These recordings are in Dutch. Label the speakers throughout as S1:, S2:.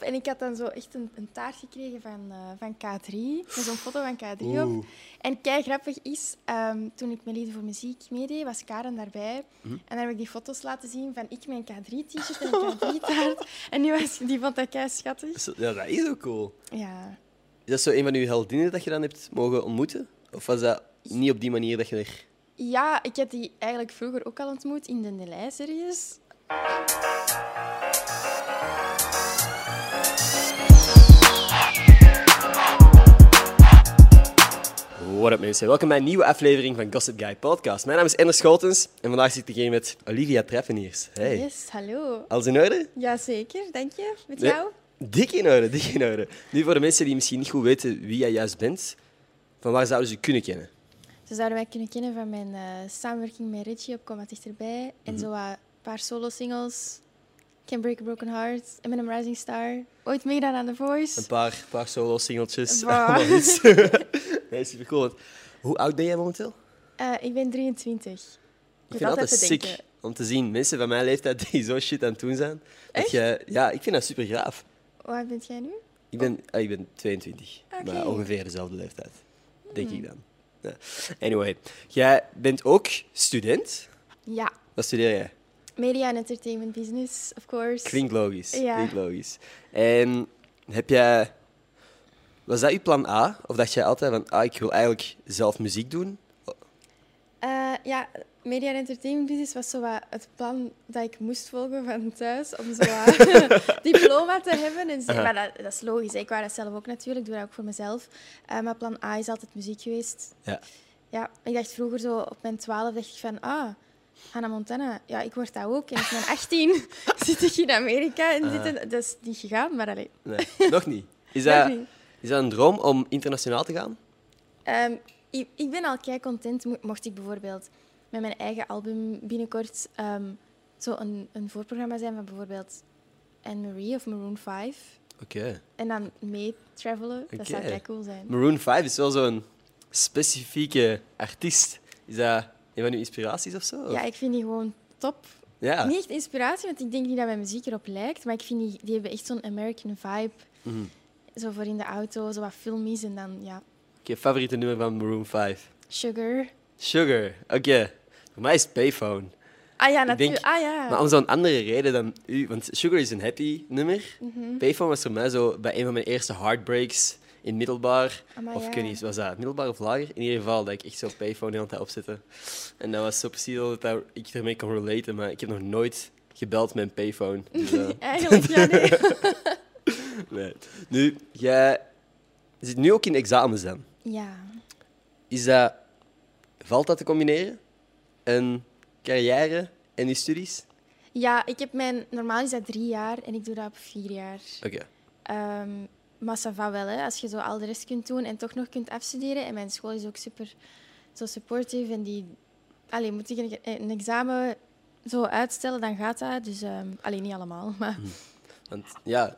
S1: En ik had dan zo echt een, een taart gekregen van, eh, van K3, met zo'n foto van K3 op.
S2: Oeh.
S1: En kei grappig is, ehm, toen ik mijn lieden voor muziek meedeed, was Karen daarbij.
S2: Hm.
S1: En daar heb ik die foto's laten zien van ik mijn K3-t-shirt en een K3-taart. En die, was, die vond dat kei schattig.
S2: Zo- Ja, dat is ook cool.
S1: Ja.
S2: Is dat zo een van uw heldinnen dat je dan hebt mogen ontmoeten? Of was dat niet op die manier dat je er...
S1: ja, ik heb die eigenlijk vroeger ook al ontmoet in de Delay-series.
S2: What up mensen, welkom bij een nieuwe aflevering van Gossip Guy Podcast. Mijn naam is Ender Scholtens en vandaag zit ik hier met Olivia Treffeniers. Hey.
S1: Yes, hallo.
S2: Alles in orde?
S1: Jazeker, dank je. Met
S2: Ja.
S1: jou?
S2: Dik in orde, dik in orde. Nu voor de mensen die misschien niet goed weten wie jij juist bent, van waar zouden ze je kunnen kennen?
S1: Ze zouden mij kunnen kennen van mijn eh, samenwerking met Richie op Kom Wat Dichterbij. En
S2: Mhm.
S1: zo wat een paar solo-singles. Can Break a Broken Heart, M&M Rising Star. Ooit meegedaan aan The
S2: Een
S1: Voice.
S2: paar, paar solo-singeltjes.
S1: Bah.
S2: allemaal iets. nee, super cool. Hoe oud ben jij momenteel?
S1: Eh, ik ben 23.
S2: Ik
S1: moet
S2: vind het altijd
S1: altijd te
S2: sick
S1: denken.
S2: om te zien mensen van mijn leeftijd die zo shit aan het doen zijn. Dat
S1: Echt?
S2: je, ja, ik vind dat super gaaf.
S1: Hoe oud bent jij nu?
S2: Ik ben, ah, ik ben 22,
S1: Oké. Hmm.
S2: maar ongeveer dezelfde leeftijd. Denk ik dan. Ja. Anyway, jij bent ook student.
S1: Ja.
S2: Wat studeer jij?
S1: Media and Entertainment Business, of course.
S2: Klinkt logisch.
S1: Ja.
S2: Klinkt logisch. En heb jij... Was dat je plan A? Of dacht jij altijd van, ah, ik wil eigenlijk zelf muziek doen?
S1: Eh, ja, Media and Entertainment Business was zo wat het plan dat ik moest volgen van thuis. Om zo wat diploma te hebben. En zo. Maar dat, dat is logisch. hè. Ik wou dat zelf ook natuurlijk. Ik doe dat ook voor mezelf. Eh, maar plan A is altijd muziek geweest.
S2: Ja.
S1: Ja, ik dacht vroeger zo op mijn 12 dacht ik van ah, Hannah Montana, ja, ik word dat ook. En op mijn 18 zit ik in Amerika en zit in- dat is niet gegaan, maar allee.
S2: Nee, nog niet. Is
S1: Nog
S2: dat,
S1: niet.
S2: is dat een droom om internationaal te gaan?
S1: Ehm, ik, ik ben al kei content mo- mocht ik bijvoorbeeld met mijn eigen album binnenkort ehm, zo een, een voorprogramma zijn van bijvoorbeeld Anne Marie of Maroon 5
S2: Oké.
S1: en dan mee travelen. Dat zou
S2: Oké.
S1: kei cool zijn.
S2: Maroon 5 is wel zo'n specifieke artiest. Is dat een van uw inspiraties of zo? Of-
S1: Ja, ik vind die gewoon top.
S2: Ja.
S1: Niet echt inspiratie, want ik denk niet dat mijn muziek erop lijkt. Maar ik vind die, die hebben echt zo'n American vibe.
S2: Mhm.
S1: Zo voor in de auto, zo wat filmies en dan, ja,
S2: Oké, favoriete nummer van Maroon 5?
S1: sugar.
S2: Sugar. Oké. Voor mij is Payphone.
S1: Ah ja,
S2: Ik denk- Nou.
S1: natuurlijk. Ah ja.
S2: Maar om zo'n andere reden dan u. Want Sugar is een happy nummer.
S1: Mhm.
S2: Payphone was voor mij zo bij een van mijn eerste heartbreaks in middelbaar.
S1: Amai,
S2: of ik
S1: ja.
S2: weet niet, was dat middelbaar of lager? In ieder geval dat ik echt zo Payphone de hele tijd opzette. En dat was zo precies al dat ik ermee kon relaten. Maar ik heb nog nooit gebeld met een Payphone. Dus, eh,
S1: Eigenlijk, ja, nee.
S2: nee. Nu, jij zit nu ook in examens dan.
S1: ja.
S2: Is dat, valt dat te combineren? Een carrière en die studies?
S1: Ja, ik heb mijn... Normaal is dat drie jaar en ik doe dat op vier jaar.
S2: Oké.
S1: Ehm maar ça va wel, hè. Als je zo al de rest kunt doen en toch nog kunt afstuderen. En mijn school is ook super zo supportive. En die... Allee, moet ik een, een examen zo uitstellen, dan gaat dat. Dus ehm alleen niet allemaal, maar...
S2: Want ja,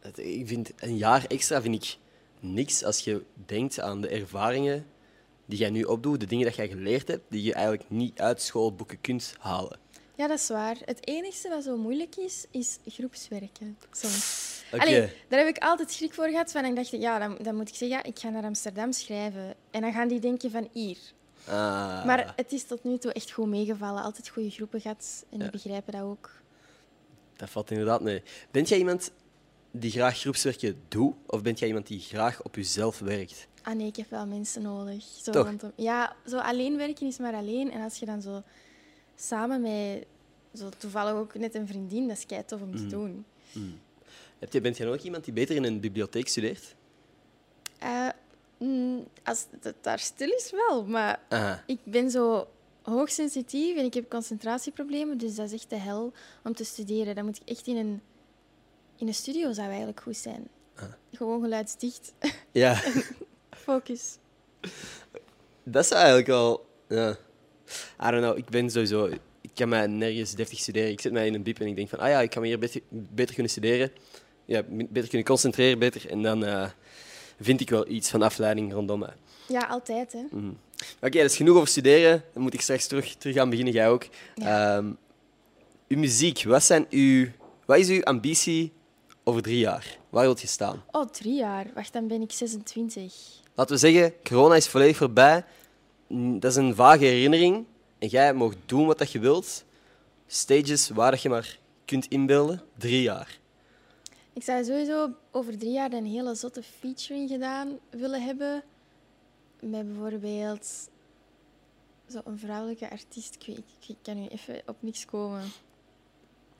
S2: het- ik vind een jaar extra vind ik niks als je denkt aan de ervaringen die jij nu opdoet, de dingen dat jij geleerd hebt, die je eigenlijk niet uit schoolboeken kunt halen.
S1: Ja, dat is waar. Het enige wat zo moeilijk is, is groepswerken. Soms.
S2: Oké.
S1: Allee, daar heb ik altijd schrik voor gehad. Van, en ik dacht, ja, dan, dan moet ik zeggen, ja, ik ga naar Amsterdam schrijven. En dan gaan die denken van, hier.
S2: Ah,
S1: Maar het is tot nu toe echt goed meegevallen. Altijd goede groepen gehad. En die begrijpen dat ook.
S2: dat valt inderdaad mee. Bent jij iemand die graag groepswerken doet, of bent jij iemand die graag op jezelf werkt?
S1: Ah nee, ik heb wel mensen nodig. Zo
S2: Toch?
S1: rondom. Ja, zo alleen werken is maar alleen. En als je dan zo samen met... Zo toevallig ook net een vriendin, dat is kei tof om
S2: Mm.
S1: te doen.
S2: Heb jij- Bent jij ook iemand die beter in een bibliotheek studeert?
S1: Eh, mm, als het daar stil is, wel. Maar
S2: Aha.
S1: Ik ben zo hoogsensitief en ik heb concentratieproblemen, dus dat is echt de hel om te studeren. Dan moet ik echt in een, in een studio zou eigenlijk goed zijn.
S2: Ah.
S1: Gewoon geluidsdicht,
S2: Ja.
S1: focus.
S2: Dat is eigenlijk al. Ja. I don't know, ik ben sowieso. Ik kan mij nergens deftig studeren. Ik zet mij in een biep en ik denk van, ah ja, ik kan me hier beter, beter kunnen studeren. Ja, m- beter kunnen concentreren, beter. En dan eh, vind ik wel iets van afleiding rondom mij.
S1: Ja, altijd hè.
S2: Oké, dat is genoeg over studeren. Dan moet ik straks terug, terug gaan beginnen, jij ook. Ehm uw muziek, wat, zijn uw, wat is uw ambitie over drie jaar? Waar wilt je staan?
S1: Oh, drie jaar. Wacht, dan ben ik 26.
S2: Laten we zeggen, corona is volledig voorbij. Mm, Dat is een vage herinnering. En jij mag doen wat dat je wilt. Stages waar dat je maar kunt inbeelden. Drie jaar.
S1: Ik zou sowieso over drie jaar een hele zotte featuring gedaan willen hebben. Met bijvoorbeeld zo'n vrouwelijke artiest. Ik, weet, ik- ik kan nu even op niks komen.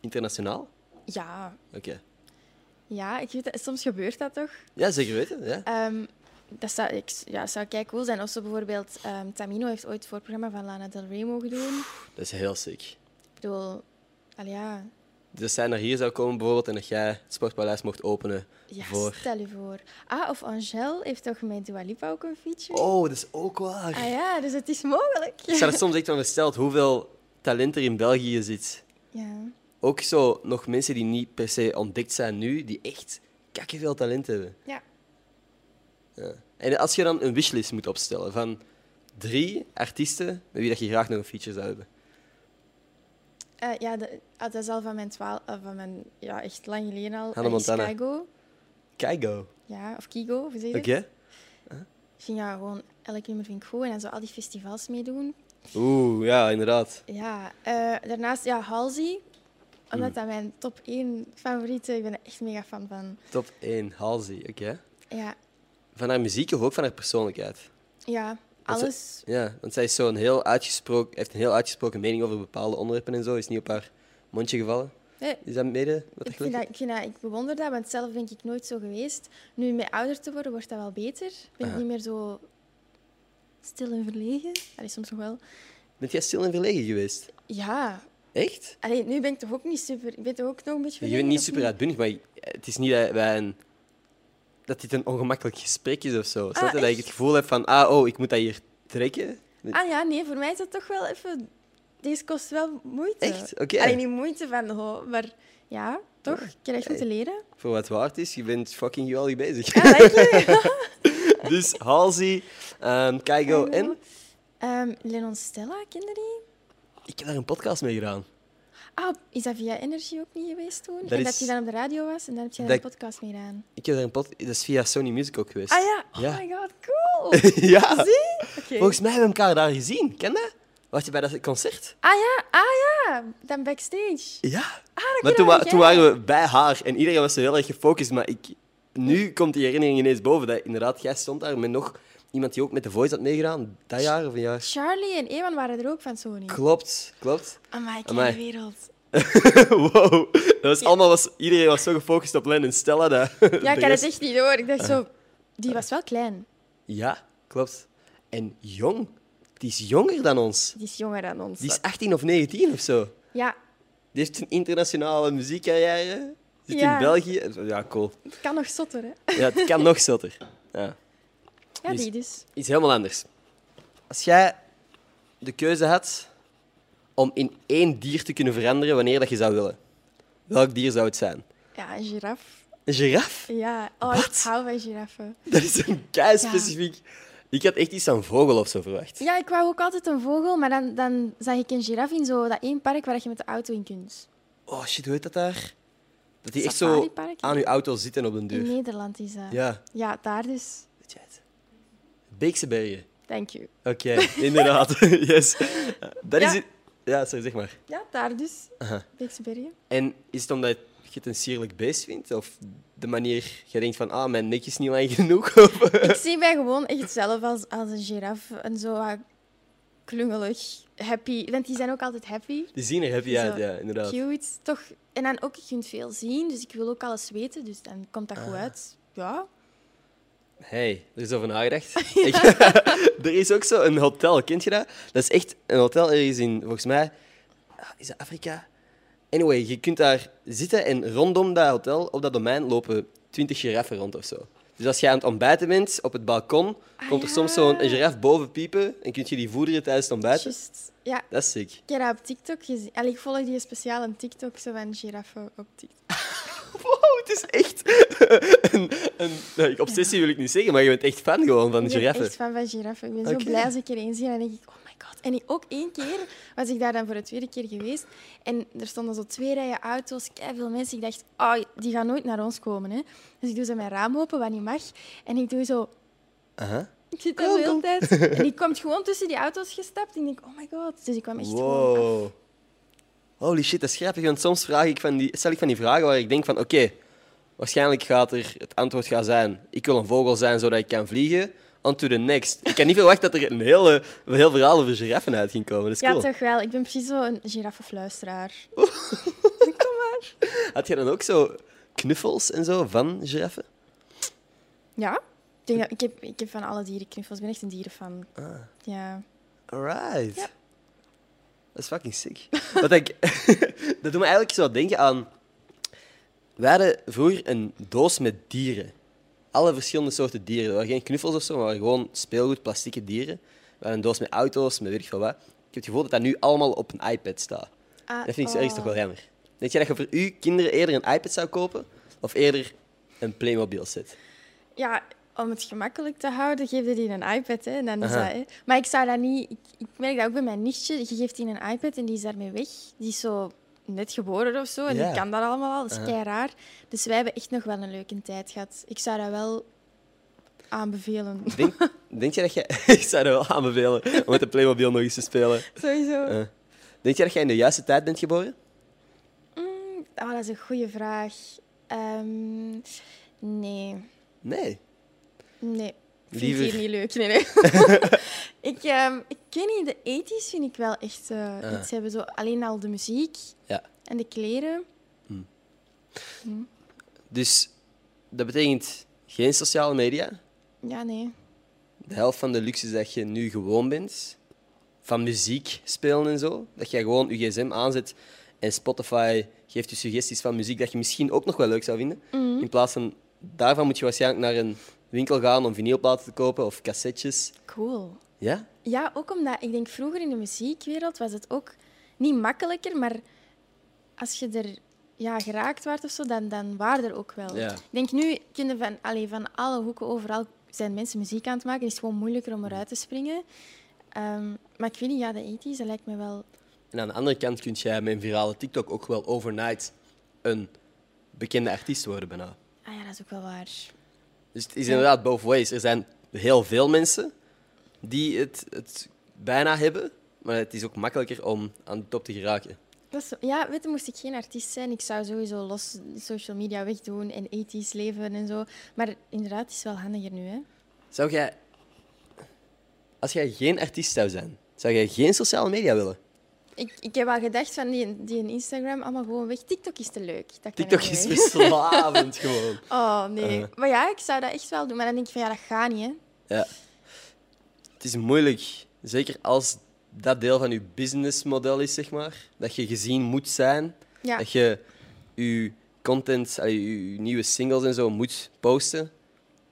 S2: Internationaal?
S1: Ja,
S2: Oké.
S1: ja ik weet, dat- soms gebeurt dat toch?
S2: Ja, zeker weten. Ja.
S1: Ehm, dat zou, ik, ja, zou kei cool zijn. Of zo bijvoorbeeld, ehm, Tamino heeft ooit het voorprogramma van Lana Del Rey mogen doen.
S2: Dat is heel sick.
S1: Ik bedoel, allee, ja,
S2: Dus als zij naar hier zou komen bijvoorbeeld en dat jij het Sportpaleis mocht openen.
S1: ja
S2: Voor.
S1: stel je voor. Ah, of Angel heeft toch met Dua Lipa ook een feature?
S2: Oh, dat is ook waar.
S1: Ah ja, dus het is mogelijk.
S2: Ik sta er soms echt van versteld hoeveel talent er in België zit.
S1: Ja.
S2: Ook zo nog mensen die niet per se ontdekt zijn nu, die echt veel talent hebben.
S1: Ja.
S2: Ja. En als je dan een wishlist moet opstellen van drie artiesten met wie dat je graag nog een feature zou hebben.
S1: Eh, ja, de- ah, dat is al van mijn twaalf, ah, van mijn, ja, echt lang geleden al.
S2: Hannah
S1: Eh,
S2: Montana.
S1: Chicago.
S2: Keigo.
S1: Ja, of Kigo, hoe zeg je
S2: Oké?
S1: dat? Ik vind ja, gewoon elk nummer vind ik goed en dan zo al die festivals meedoen.
S2: Oeh, ja, inderdaad.
S1: Ja, eh, daarnaast, ja, Halsey. Omdat
S2: Mm.
S1: dat mijn top 1 favoriete, ik ben er echt mega fan van.
S2: Top 1, Halsey. Oké.
S1: Ja,
S2: Van haar muziek of ook van haar persoonlijkheid?
S1: ja
S2: Dat is-
S1: alles.
S2: Ja, want zij is zo'n heel uitgesproken, heeft een heel uitgesproken mening over bepaalde onderwerpen en zo. Is niet op haar mondje gevallen.
S1: Nee,
S2: Is dat mede? Wat
S1: ik, vind dat, ik, vind dat, ik bewonder dat, want zelf ben ik nooit zo geweest. Nu, met ouder te worden, wordt dat wel beter. Ben ik
S2: Aha.
S1: niet meer zo stil en verlegen. Allee, soms nog wel.
S2: Bent jij stil en verlegen geweest?
S1: Ja,
S2: Echt?
S1: Allee, nu ben ik toch ook niet super. Ik ben toch ook nog een beetje.
S2: Je bent
S1: verlegen,
S2: niet
S1: of
S2: super uitbundig, maar het is niet dat wij een... Dat dit een ongemakkelijk gesprek is of zo. Snap je? Dat ik
S1: echt?
S2: het gevoel heb van, ah, oh, ik moet dat hier trekken.
S1: Ah ja, nee, voor mij is dat toch wel even. Deze kost wel moeite.
S2: Echt? Oké.
S1: Alleen niet moeite van ho, maar ja, toch?
S2: Ja.
S1: Ik krijg goed te leren.
S2: Voor wat waard is, je bent fucking geweldig bezig.
S1: Ah, dank je.
S2: dus Halsey, ehm Keigo en...
S1: Ehm, Lennon Stella, kinderen die?
S2: Ik heb daar een podcast mee gedaan.
S1: Ah, is dat via Energy ook niet geweest toen?
S2: Dat
S1: en
S2: is-
S1: dat hij dan op de radio was en dan heb je daar
S2: Dat-
S1: een podcast mee gedaan.
S2: Ik heb daar een pod... Dat is via Sony Music ook geweest.
S1: Ah ja, oh
S2: Ja.
S1: my god, cool! Ah,
S2: ja.
S1: Zie? Oké.
S2: Volgens mij hebben we elkaar daar gezien. Ken dat? Was je bij dat concert?
S1: Ah ja, ah ja, dan backstage.
S2: Ja.
S1: ken
S2: maar toen,
S1: ik,
S2: wa-
S1: ja.
S2: toen waren we bij haar en iedereen was zo heel erg gefocust. Maar ik, nu komt die herinnering ineens boven. Dat inderdaad, jij stond daar met nog iemand die ook met de Voice had meegedaan. Dat jaar of een jaar.
S1: Charlie en Ewan waren er ook van Sony.
S2: Klopt, klopt.
S1: Amai, ik
S2: Amai.
S1: de wereld.
S2: wow. Dat was allemaal was, iedereen was zo gefocust op Len en Stella. Dat
S1: Ja, ik
S2: de
S1: had het
S2: rest- Ah.
S1: echt niet door. Ik dacht zo, die was wel klein.
S2: Ja, klopt. En jong. Die is jonger dan ons.
S1: Die is jonger dan ons.
S2: Die is 18 of 19 of zo.
S1: Ja,
S2: Die heeft een internationale muziekcarrière. Zit
S1: Ja.
S2: in België. Ja, cool.
S1: het kan nog zotter, hè?
S2: Ja, het kan nog zotter. Ja.
S1: Ja,
S2: Dus-
S1: die dus.
S2: Iets helemaal anders. Als jij de keuze had om in één dier te kunnen veranderen wanneer dat je zou willen, welk dier zou het zijn?
S1: Ja, een giraf.
S2: Een giraf?
S1: Ja, oh,
S2: Wat?
S1: ik hou van giraffen.
S2: Dat is een kei specifiek. Ik had echt iets aan vogel of zo verwacht.
S1: Ja, ik wou ook altijd een vogel, maar dan, dan zag ik een giraf in zo dat één park waar je met de auto in kunt.
S2: Oh shit, hoe heet dat daar? Dat die echt zo
S1: Safaripark?
S2: aan je auto zitten op een duur.
S1: In Nederland is dat.
S2: Dus- Ja,
S1: Ja, daar dus.
S2: weet jij het? Beekse Bergen.
S1: Thank you.
S2: Oké, inderdaad. yes. Dat
S1: Ja.
S2: is het. Ja, sorry, zeg maar.
S1: Ja, daar dus.
S2: Aha.
S1: Beekse Bergen.
S2: En is het omdat je het een sierlijk beest vindt? Of de manier, je denkt van, ah, mijn nek is niet lang genoeg? Of, eh,
S1: Ik zie mij gewoon echt zelf als, als een giraf. En zo wat klungelig, happy. Want die zijn ook altijd happy.
S2: die zien er happy
S1: Zo
S2: uit, ja, inderdaad.
S1: Cute, toch? En dan ook, je kunt veel zien, dus ik wil ook alles weten, dus dan komt dat goed
S2: Ah.
S1: uit. Ja.
S2: Hey, er is over nagedacht. Ik- er is ook zo een hotel, kent je dat? Dat is echt een hotel ergens in, volgens mij, ah, is dat Afrika? Anyway, je kunt daar zitten en rondom dat hotel, op dat domein, lopen 20 giraffen rond of zo. Dus als jij aan het ontbijten bent op het balkon,
S1: Ah,
S2: komt er
S1: ja.
S2: soms zo'n een giraf boven piepen en kun je die voederen tijdens het ontbijten.
S1: Just, ja,
S2: Dat is sick.
S1: ik heb dat op TikTok gezien. Allee, ik volg die speciaal een TikTok, zo van giraffen op TikTok.
S2: Wow, het is echt een, een nou, ik- obsessie wil ik niet zeggen, maar je bent echt fan gewoon van
S1: Ik ben
S2: giraffen.
S1: echt fan van giraffen. Ik ben
S2: Oké.
S1: zo blij als ik er één zie en dan denk ik, oh my my god. En ook één keer was ik daar dan voor de tweede keer geweest. En er stonden zo twee rijen auto's, veel mensen. Ik dacht, oh, die gaan nooit naar ons komen. Hè. Dus ik doe zo mijn raam open, wat niet mag. En ik doe zo...
S2: Aha.
S1: Ik zit daar de hele tijd. En die komt gewoon tussen die auto's gestapt. En ik denk, oh my god. Dus ik kwam echt gewoon af.
S2: Wow. Holy shit, dat is grappig. Want soms vraag ik van die, stel ik van die vragen waar ik denk van, oké, waarschijnlijk gaat er het antwoord gaan zijn, ik wil een vogel zijn zodat ik kan vliegen. On to the next. Ik had niet verwacht dat er een, hele, een heel verhaal over giraffen uit ging komen. Dat is
S1: Ja,
S2: cool.
S1: toch wel. Ik ben precies zo'n giraffenfluisteraar.
S2: Had jij dan ook zo knuffels en zo van giraffen?
S1: Ja? Ik, denk dat, ik, heb, ik heb van alle dieren knuffels. Ik ben echt een dierenfan.
S2: Ah.
S1: Ja.
S2: Alright.
S1: Ja.
S2: Dat is fucking sick. Wat ik, dat doet me eigenlijk zo denken aan. We hadden vroeger een doos met dieren. Alle verschillende soorten dieren. Er waren geen knuffels of zo, maar er waren gewoon speelgoed, plastieke dieren. We hadden een doos met auto's, met weet ik veel wat. Ik heb het gevoel dat dat nu allemaal op een iPad staat.
S1: Ah,
S2: Dat vind ik zo
S1: oh.
S2: ergens toch wel jammer. Denk jij dat je voor uw kinderen eerder een iPad zou kopen of eerder een Playmobil set?
S1: Ja, om het gemakkelijk te houden, geef je die een iPad. Hè, en dan is
S2: Aha.
S1: dat, hè. Maar ik zou dat niet... Ik, ik merk dat ook bij mijn nichtje. Je geeft die een iPad en die is daarmee weg. Die is zo net geboren of zo. En
S2: Ja.
S1: die kan dat allemaal al. Dat is
S2: Aha.
S1: kei raar. Dus wij hebben echt nog wel een leuke tijd gehad. Ik zou dat wel aanbevelen.
S2: Denk, denk je dat jij. ik zou dat wel aanbevelen om met de Playmobil nog eens te spelen.
S1: Sowieso.
S2: Eh, denk jij dat jij in de juiste tijd bent geboren?
S1: Mm, oh, dat is een goede vraag. Ehm, nee.
S2: Nee.
S1: Nee. Ik vind
S2: Liever-
S1: het hier niet leuk. Nee, nee. ik, ehm, ik weet niet, de 80s vind ik wel echt eh,
S2: Ah.
S1: iets hebben. Zo, alleen al de muziek
S2: Ja.
S1: en de kleren.
S2: Dus dat betekent geen sociale media.
S1: Ja, nee.
S2: De helft van de luxe is dat je nu gewoon bent. Van muziek spelen en zo. Dat jij gewoon je gsm aanzet en Spotify geeft je suggesties van muziek dat je misschien ook nog wel leuk zou vinden. In plaats van daarvan moet je waarschijnlijk naar een winkel gaan om vinylplaten te kopen of cassettes.
S1: Cool.
S2: Ja?
S1: Ja, ook omdat ik denk vroeger in de muziekwereld was het ook niet makkelijker, maar als je er ja, geraakt werd of zo, dan, dan waren er ook wel.
S2: Ja.
S1: Ik denk nu, kinderen van, allee, van alle hoeken overal zijn mensen muziek aan het maken. Het is gewoon moeilijker om eruit te springen. Ehm, maar ik weet niet, ja, de 80s, dat lijkt me wel.
S2: En aan de andere kant kun jij met een virale TikTok ook wel overnight een bekende artiest worden bijna.
S1: Ah ja, dat is ook wel waar.
S2: Dus het is inderdaad both ways. Er zijn heel veel mensen die het, het bijna hebben, maar het is ook makkelijker om aan de top te geraken.
S1: Dat is zo- ja, weet je, moest ik geen artiest zijn, ik zou sowieso los social media wegdoen en 80s leven en zo. Maar inderdaad, het is wel handiger nu, hè?
S2: Zou jij, als jij geen artiest zou zijn, zou jij geen sociale media willen?
S1: Ik, ik heb al gedacht van die, die Instagram allemaal gewoon weg. TikTok is te leuk. Dat kan ik
S2: TikTok
S1: niet
S2: is
S1: weg.
S2: verslavend gewoon.
S1: Oh nee.
S2: Eh.
S1: Maar ja, ik zou dat echt wel doen. Maar dan denk ik van ja, dat gaat niet. Hè.
S2: Ja. Het is moeilijk, zeker als dat deel van je businessmodel is, zeg maar. Dat je gezien moet zijn,
S1: Ja.
S2: dat je je content, allee, je je nieuwe singles en zo moet posten.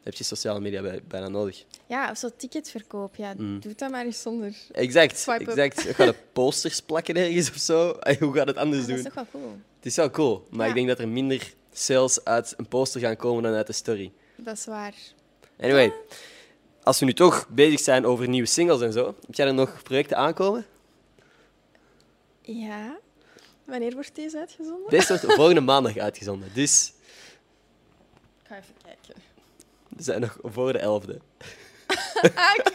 S2: Dan heb je sociale media bij- bijna nodig.
S1: ja, of zo ticketverkoop. Ja,
S2: Mm.
S1: doe dat maar eens zonder.
S2: Exact,
S1: Swipe up.
S2: exact. We gaan de posters plakken ergens of zo. Allee, Hoe gaat het anders
S1: Ah, dat
S2: doen?
S1: is toch wel cool.
S2: Het is wel cool, maar
S1: Ja.
S2: ik denk dat er minder sales uit een poster gaan komen dan uit de story.
S1: Dat is waar.
S2: Anyway,
S1: Ah.
S2: als we nu toch bezig zijn over nieuwe singles en zo, heb jij er nog projecten aankomen?
S1: Ja. Wanneer wordt deze uitgezonden?
S2: Deze wordt volgende maandag uitgezonden, dus
S1: Ik ga even kijken.
S2: we zijn nog voor de 11e.
S1: Ah, oké.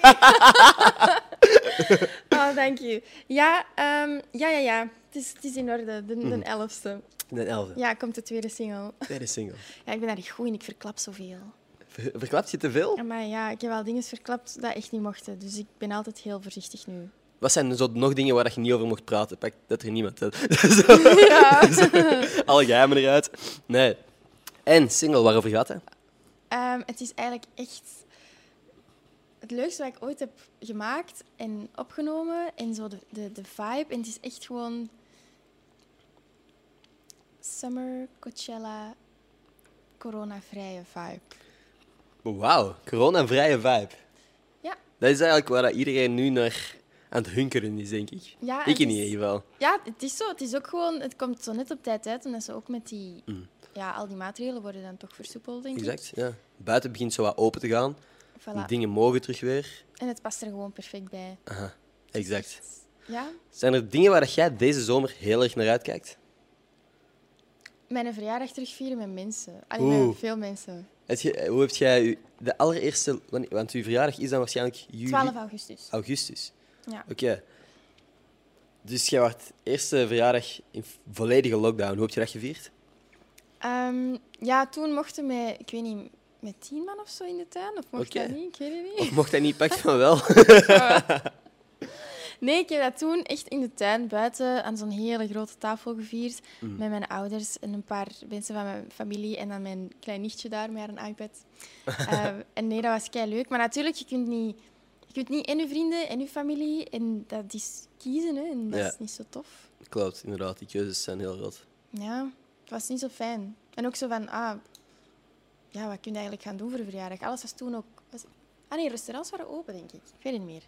S1: oh, dank je. Ja, ehm, ja, ja, ja. Het is, het is in orde. De,
S2: Mhm.
S1: de elfste.
S2: De 11e,
S1: Ja, komt de tweede single.
S2: tweede single.
S1: Ja, ik ben daar niet goed in. Ik verklap zoveel.
S2: Ver- Verklapt je te veel?
S1: Maar ja, ik heb wel dingen verklapt dat echt niet mochten. Dus ik ben altijd heel voorzichtig nu.
S2: Wat zijn zo nog dingen waar dat je niet over mocht praten? Pak dat er niemand. Dat,
S1: Ja.
S2: alle geheimen eruit. Nee. En single, waarover gaat hij?
S1: Ehm, het is eigenlijk echt het leukste wat ik ooit heb gemaakt en opgenomen. En zo de, de, de vibe. En het is echt gewoon... Summer Coachella coronavrije vibe.
S2: Wauw, corona-vrije vibe.
S1: Ja.
S2: Dat is eigenlijk waar dat iedereen nu naar aan het hunkeren is, denk ik.
S1: Ja, dus
S2: ik
S1: het
S2: in
S1: is-
S2: ieder geval.
S1: Ja, het is zo. Het is ook gewoon... Het komt zo net op tijd uit. Omdat ze ook met die... Ja, al die maatregelen worden dan toch versoepeld, denk ik.
S2: Exact. Ja. Buiten begint zo wat open te gaan.
S1: Voilà.
S2: Dingen mogen terug weer.
S1: En het past er gewoon perfect bij.
S2: Aha. Exact.
S1: Ja,
S2: Zijn er dingen waar dat jij deze zomer heel erg naar uitkijkt?
S1: mijn verjaardag terugvieren met mensen. Alleen
S2: Oeh.
S1: met veel mensen.
S2: Heb je- hoe heb jij je- de allereerste... wanneer- Want uw verjaardag is dan waarschijnlijk juli...
S1: 12 augustus.
S2: augustus.
S1: Ja.
S2: Oké. Dus jij werd eerste verjaardag in volledige lockdown. Hoe heb je dat gevierd?
S1: Ehm, ja, toen mochten we, ik weet niet, met tien man of zo in de tuin. Of mocht
S2: Oké.
S1: dat niet? Ik weet het niet.
S2: Of mocht dat niet pakken van wel?
S1: Nee, ik heb dat toen echt in de tuin buiten aan zo'n hele grote tafel gevierd.
S2: Mm.
S1: Met mijn ouders en een paar mensen van mijn familie. En dan mijn klein nichtje daar met haar een iPad. Ehm, en nee, dat was kei leuk. Maar natuurlijk, je kunt niet. Je kunt niet en je vrienden en je familie. En dat is kiezen, hè. En dat
S2: Ja.
S1: is niet zo tof.
S2: Klopt, inderdaad. Die keuzes zijn heel groot.
S1: Ja, het was niet zo fijn. En ook zo van, ah, ja, wat kun je eigenlijk gaan doen voor een verjaardag? Alles was toen ook... Was... Ah nee, restaurants waren open, denk ik. Ik weet het niet meer.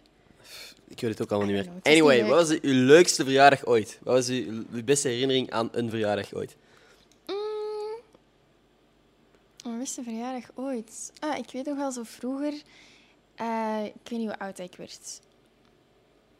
S2: Ik weet het ook allemaal
S1: I
S2: niet meer.
S1: don't know, het is
S2: Anyway,
S1: niet
S2: wat was de- uw leukste verjaardag ooit? Wat was uw, uw beste herinnering aan een verjaardag ooit?
S1: Mm. Mijn beste verjaardag ooit. Ah, ik weet nog wel zo vroeger... eh, ik weet niet hoe oud ik werd.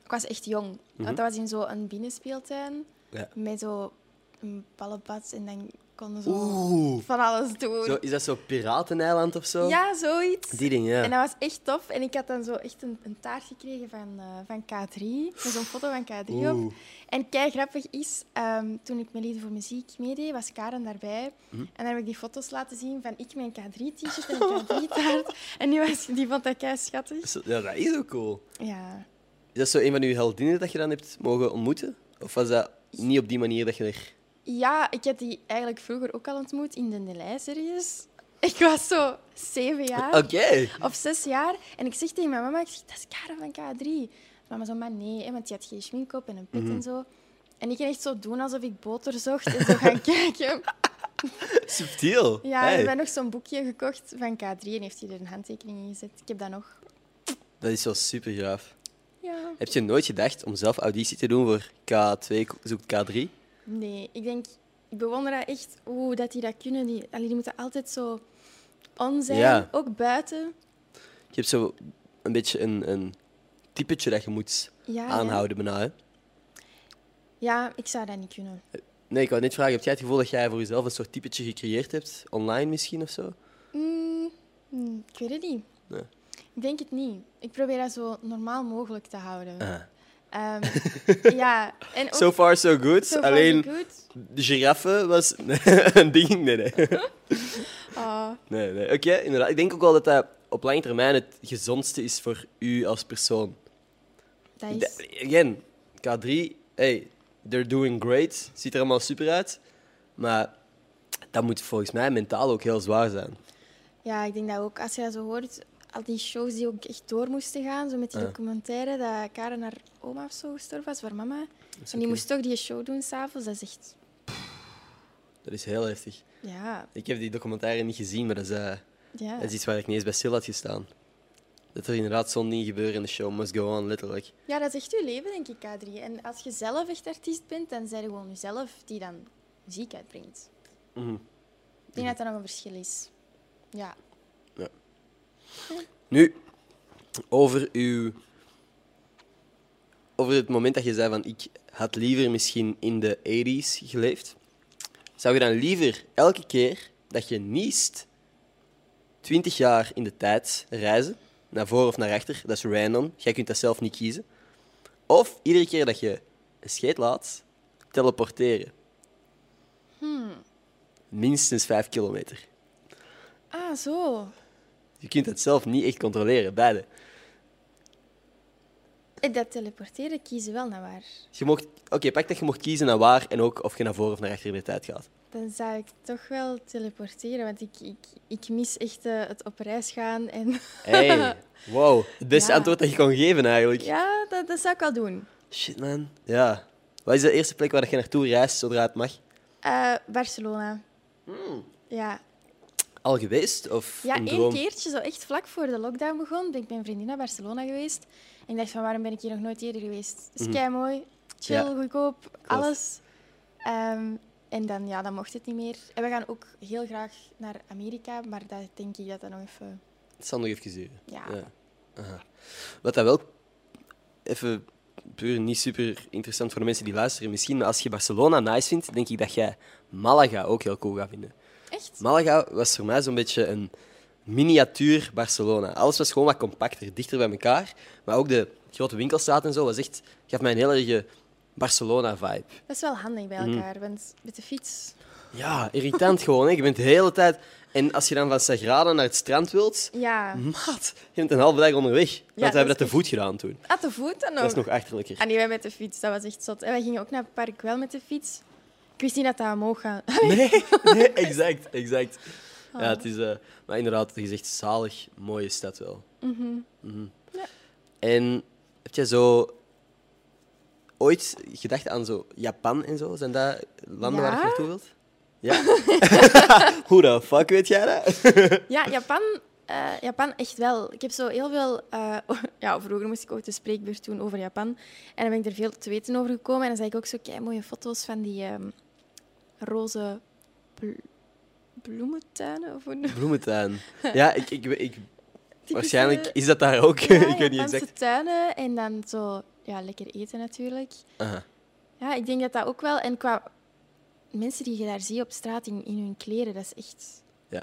S1: Ik was echt jong. Want dat was in zo'n binnenspeeltuin.
S2: Mhm. Ja.
S1: Met zo een ballenbad. En dan konden zo
S2: Oeh.
S1: van alles doen.
S2: Zo, is dat zo Pirateneiland of zo?
S1: Ja, zoiets.
S2: Die ding, ja.
S1: En dat was echt tof. En ik had dan zo echt een, een taart gekregen van, eh, van K3. Met zo'n foto van K3 op.
S2: Oeh.
S1: En kei grappig is, ehm, toen ik mijn lieden voor muziek meedeed, was Karen daarbij.
S2: Mhm.
S1: En dan heb ik die foto's laten zien van ik mijn K3-t-shirt en een K3-taart. En die, was, die vond dat kei schattig.
S2: Zo- Ja, dat is ook cool.
S1: Ja.
S2: Is dat zo een van uw heldinnen dat je dan hebt mogen ontmoeten? Of was dat niet op die manier dat je er...
S1: ja, ik heb die eigenlijk vroeger ook al ontmoet in de Nelij-series. Ik was zo zeven jaar.
S2: Oké.
S1: Of zes jaar. En ik zeg tegen mijn mama, ik zeg, dat is Karen van K3. Mama zo, maar nee, hè, want die had geen schmink op en een pet
S2: Mhm.
S1: en zo. En ik ging echt zo doen alsof ik boter zocht en zo gaan kijken.
S2: Subtiel.
S1: Ja,
S2: Hey.
S1: ik heb nog zo'n boekje gekocht van K3 en heeft hij er een handtekening in gezet. Ik heb dat nog.
S2: Dat is wel super gaaf.
S1: Ja.
S2: Heb je nooit gedacht om zelf auditie te doen voor K2 zoekt K3?
S1: Nee, ik denk, ik bewonder dat echt, oeh, dat die dat kunnen. Die, allee, die moeten altijd zo on zijn,
S2: Ja.
S1: ook buiten.
S2: Je hebt zo een beetje een, een typetje dat je moet
S1: Ja, ja.
S2: aanhouden bijna. Hè?
S1: Ja, ik zou dat niet kunnen.
S2: Nee, ik wou net vragen, heb jij het gevoel dat jij voor jezelf een soort typetje gecreëerd hebt? Online misschien of
S1: Oh.
S2: zo?
S1: Mm, mm, ik weet het niet.
S2: Nee.
S1: Ik denk het niet. Ik probeer dat zo normaal mogelijk te houden.
S2: Ah.
S1: Ehm, ja, en ook
S2: So far, so good.
S1: so far, so
S2: Alleen
S1: good.
S2: de giraffe was een ding. Nee, nee.
S1: Ah,
S2: nee, nee. Oké, inderdaad. Ik denk ook wel dat dat op lange termijn het gezondste is voor u als persoon.
S1: dat is...
S2: Da- Again, K3, hey, they're doing great. Ziet er allemaal super uit. Maar dat moet volgens mij mentaal ook heel zwaar zijn.
S1: Ja, ik denk dat ook, als je dat zo hoort, al die shows die ook echt door moesten gaan, zo met die
S2: Ja.
S1: documentaire dat Karen haar oma of zo gestorven was, waar mama. En die
S2: oké.
S1: moest toch die show doen s'avonds, dat is echt...
S2: Dat is heel heftig.
S1: Ja,
S2: Ik heb die documentaire niet gezien, maar dat is, eh,
S1: ja.
S2: dat is iets waar ik niet eens bij stil had gestaan. Dat er inderdaad zo'n ding gebeuren in de show must go on, letterlijk.
S1: ja, dat is echt je leven, denk ik, K3. En als je zelf echt artiest bent, dan zijn je gewoon jezelf die dan muziek uitbrengt.
S2: Mhm.
S1: Ik denk dat dat nog een verschil is. Ja.
S2: Nu, over uw. Over het moment dat je zei van ik had liever misschien in de 80s geleefd. Zou je dan liever elke keer dat je niest 20 jaar in de tijd reizen, naar voor of naar achter, dat is random, jij kunt dat zelf niet kiezen. Of iedere keer dat je een scheet laat, teleporteren. Minstens 5 kilometer.
S1: Ah, zo.
S2: Je kunt dat zelf niet echt controleren, beide.
S1: En Dat teleporteren kiezen wel naar waar.
S2: Je mocht, oké, pak dat je mocht kiezen naar waar en ook of je naar voren of naar achter in de tijd gaat.
S1: Dan zou ik toch wel teleporteren, want ik, ik, ik mis echt eh, het op reis gaan. En
S2: Hey, wow. Het beste
S1: Ja.
S2: antwoord dat je kon geven eigenlijk.
S1: ja, dat, dat zou ik wel doen.
S2: Shit, man. Ja. Wat is de eerste plek waar je naartoe reist zodra het mag?
S1: Eh, Barcelona.
S2: Mm.
S1: Ja,
S2: Al geweest? Of
S1: ja
S2: een
S1: één
S2: droom?
S1: keertje, zo echt vlak voor de lockdown begon, ben ik met mijn vriendin naar Barcelona geweest. En ik dacht van, waarom ben ik hier nog nooit eerder geweest? Het is mooi, chill,
S2: Mhm. Ja.
S1: goedkoop, alles. Ehm, en dan, ja, dan mocht het niet meer. En we gaan ook heel graag naar Amerika, maar dat denk ik dat dat nog even...
S2: Het zal nog even duren.
S1: Ja.
S2: Aha. Wat dat wel even puur niet super interessant voor de mensen die luisteren misschien. Maar als je Barcelona nice vindt, denk ik dat jij Malaga ook heel cool gaat vinden.
S1: Echt?
S2: Malaga was voor mij zo'n beetje een miniatuur Barcelona. Alles was gewoon wat compacter, dichter bij elkaar. Maar ook de grote winkelstraat en zo was echt, gaf mij een heel erge Barcelona-vibe.
S1: Dat is wel handig bij
S2: Mhm.
S1: elkaar, want met de fiets...
S2: Ja, irritant gewoon. Hè. Je bent de hele tijd... En als je dan van Sagrada naar het strand wilt...
S1: Ja.
S2: Maat, je bent een halve dag onderweg. Want we
S1: dat
S2: hebben
S1: is
S2: dat te
S1: echt-
S2: voet gedaan toen.
S1: Ah, te voet dan ook?
S2: Dat is nog achterlijker.
S1: Ah nee, wij met de fiets, dat was echt zot. En wij gingen ook naar het park wel met de fiets. Ik wist niet dat dat omhoog gaat.
S2: Nee, nee, exact, exact.
S1: Ah.
S2: Ja, het is, eh, maar inderdaad, het is echt zalig, mooie stad wel. Mhm.
S1: Ja.
S2: En heb jij zo ooit gedacht aan zo Japan en zo? Zijn dat landen waar je
S1: Ja.
S2: naartoe wilt? Ja. Hoe de fuck weet jij dat?
S1: Ja,
S2: Dus-
S1: Japan, eh, Japan echt wel. Ik heb zo heel veel. eh, ja, vroeger moest ik ook de spreekbeurt doen over Japan. En dan ben ik er veel te weten over gekomen. En dan zag ik ook zo kei mooie foto's van die ehm, roze bl- bloementuinen. Of hoe noem-
S2: Bloementuin. Ja, ik, ik, ik,
S1: typische-
S2: waarschijnlijk is dat daar ook.
S1: ja,
S2: ik weet niet
S1: Japanse
S2: exact.
S1: tuinen. En dan zo ja, lekker eten natuurlijk.
S2: Aha.
S1: Ja, ik denk dat dat ook wel. En qua mensen die je daar ziet op straat in, in hun kleren, dat is echt.
S2: Ja,